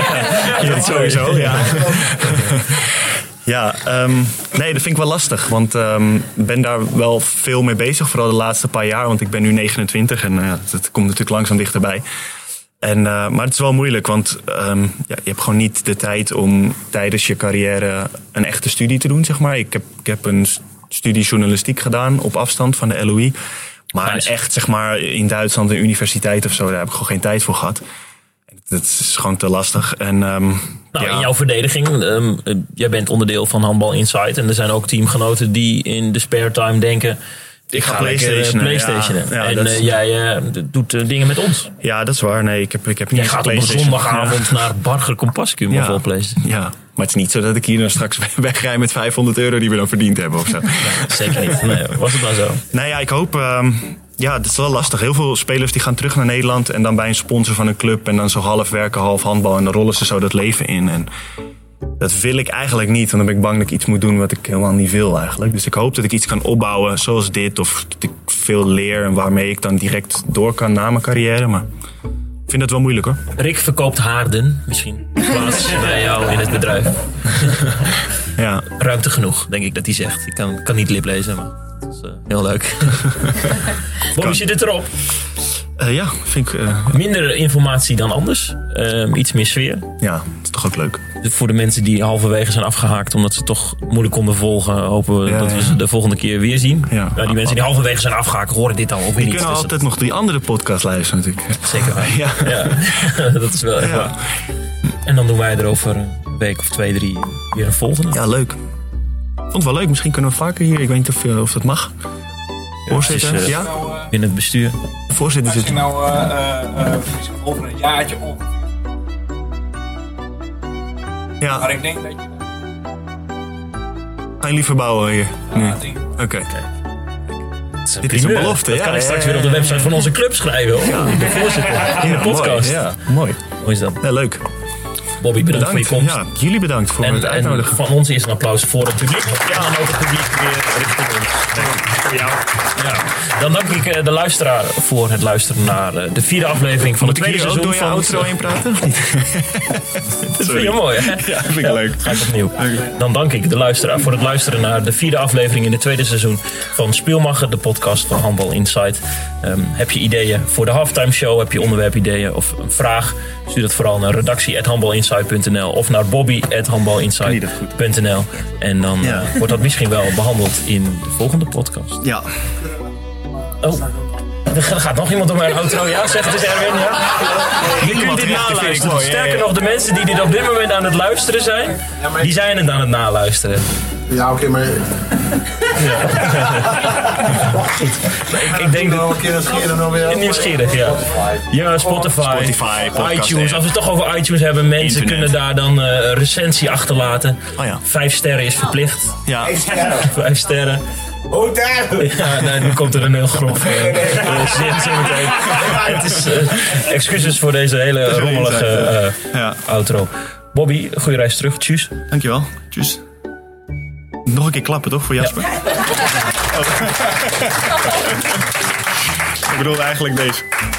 ja, dat sowieso, ja. Ja, ehm, nee, dat vind ik wel lastig. Want ik ben daar wel veel mee bezig. Vooral de laatste paar jaar. Want ik ben nu 29 en eh, dat komt natuurlijk langzaam dichterbij. En, eh, maar het is wel moeilijk. Want ehm, ja, je hebt gewoon niet de tijd om tijdens je carrière een echte studie te doen, zeg maar. Ik heb, ik heb een s- studie journalistiek gedaan op afstand van de LOE. Maar
Nice.
echt, zeg maar, in Duitsland een universiteit of zo, daar heb ik gewoon geen tijd voor gehad. Dat is gewoon te lastig. En, ehm,
Nou,
ja.
in jouw verdediging, ehm, eh, jij bent onderdeel van Handbal Insight. En er zijn ook teamgenoten die in de spare time denken... Ik
ga
ga lekker eh,
PlayStationen, ja.
PlayStationen.
Ja,
en
dat
eh,
is-
jij eh, d- doet eh, dingen met ons.
Ja, dat is waar. Nee, ik heb, ik heb niet
Jij
eens
gaat op een
PlayStation.
zondagavond naar Barger Compascum of wel PlayStation.
Ja, maar het is niet zo dat ik hier dan straks wegrij met 500 euro die we dan verdiend hebben of zo.
Zeker niet. Nee, was het maar zo.
nou ja, ik hoop... ehm, ja, het is wel lastig. Heel veel spelers die gaan terug naar Nederland en dan bij een sponsor van een club en dan zo half werken, half handbal en dan rollen ze zo dat leven in. En dat wil ik eigenlijk niet, want dan ben ik bang dat ik iets moet doen wat ik helemaal niet wil eigenlijk. Dus ik hoop dat ik iets kan opbouwen zoals dit of dat ik veel leer en waarmee ik dan direct door kan na mijn carrière. Maar ik vind dat wel moeilijk hoor.
Rick verkoopt haarden misschien. In plaats bij jou in het bedrijf.
Ja.
Ruimte genoeg, denk ik dat hij zegt. Ik kan, kan niet lip lezen, maar het is eh, heel leuk. Bobby zit het erop.
Eh, ja, vind ik. eh,
Minder informatie dan anders. Ehm, iets meer sfeer.
ja, dat is toch ook leuk.
Voor de mensen die halverwege zijn afgehaakt omdat ze toch moeilijk konden volgen, hopen we
Ja,
dat we
ja.
ze de volgende keer weer zien.
Ja.
Nou, die mensen die halverwege zijn afgehaakt horen dit dan ook weer
Je
niet.
kunt
dus
altijd nog die andere podcast luisteren, natuurlijk.
dat- Zeker waar.
Ja.
Ja, dat is wel echt
Ja.
waar. En dan doen wij er over een week of twee, drie weer een volgende.
ja, leuk. Vond het wel leuk. Misschien kunnen we vaker hier. Ik weet niet of, eh, of dat mag. Voorzitter.
het is, eh,
ja,
Nou, eh,
In het bestuur.
voorzitter
als
zit.
je nou eh, eh, eh, misschien over een jaartje op. Maar
Ja,
ik denk dat je
gaan jullie verbouwen hier? Nee.
dat ding
Oké.
Dit
is een belofte,
Dat
ja,
kan ik
ja,
straks
ja,
weer op de
ja,
website van onze club schrijven. hoor. De voorzitter. In de
Ja,
podcast.
Mooi. Ja, mooi.
Hoe is dat?
Ja, leuk.
Bobby, bedankt, voor je komst.
Ja, jullie bedankt voor het
En, en
uitnodigen.
van ons is een applaus voor het publiek. Ja, en ook het publiek weer richting ons. Ja. Dan dank ik eh, de luisteraar voor het luisteren naar eh, de vierde aflevering van het
Moet ik
tweede
hier ook
seizoen
door je
van... eh,
outro heen praten? of niet?
Dat vind je mooi, hè?
Ja, vind ik leuk.
Ga ik opnieuw. Dan dank ik de luisteraar voor het luisteren naar de vierde aflevering in het tweede seizoen van Speelmacher, de podcast van Handbal Insight. Ehm, heb je ideeën voor de halftime show? Heb je onderwerpideeën of een vraag? Stuur dat vooral naar redactie.handbalinsight.nl of naar bobby.handbalinsight.nl. En dan
Ja.
eh, wordt dat misschien wel behandeld in de volgende podcast.
Ja.
Oh. Er ga- gaat nog iemand op mijn auto, ja? Zegt het Erwin, ja? Je kunt
Iemand
dit
terecht, dat vind ik
naluisteren.
mooi, ja, ja.
Sterker nog, de mensen die dit op dit moment aan het luisteren zijn, die zijn het aan het naluisteren.
Ja, oké, maar...
Ik, ik denk dat...
een keer dat scheren dan weer.
Nieuwsgierig, ja. Ja, Spotify,
Spotify, podcast,
iTunes.
ja.
Als we het toch over iTunes hebben, mensen
Internet.
kunnen daar dan eh, een recensie achterlaten.
Oh ja.
Vijf sterren is verplicht.
Ja.
Vijf sterren.
Hoe daar?
Ja, nee, nu komt er een heel grof eh, eh, zin zo meteen. Het is, eh, excuses voor deze hele rommelige eh,
Ja.
outro. Bobby, goede reis terug. Tjus.
Dankjewel. Tjus. Nog een keer klappen, toch, voor Jasper? Oh. Ik bedoel eigenlijk deze.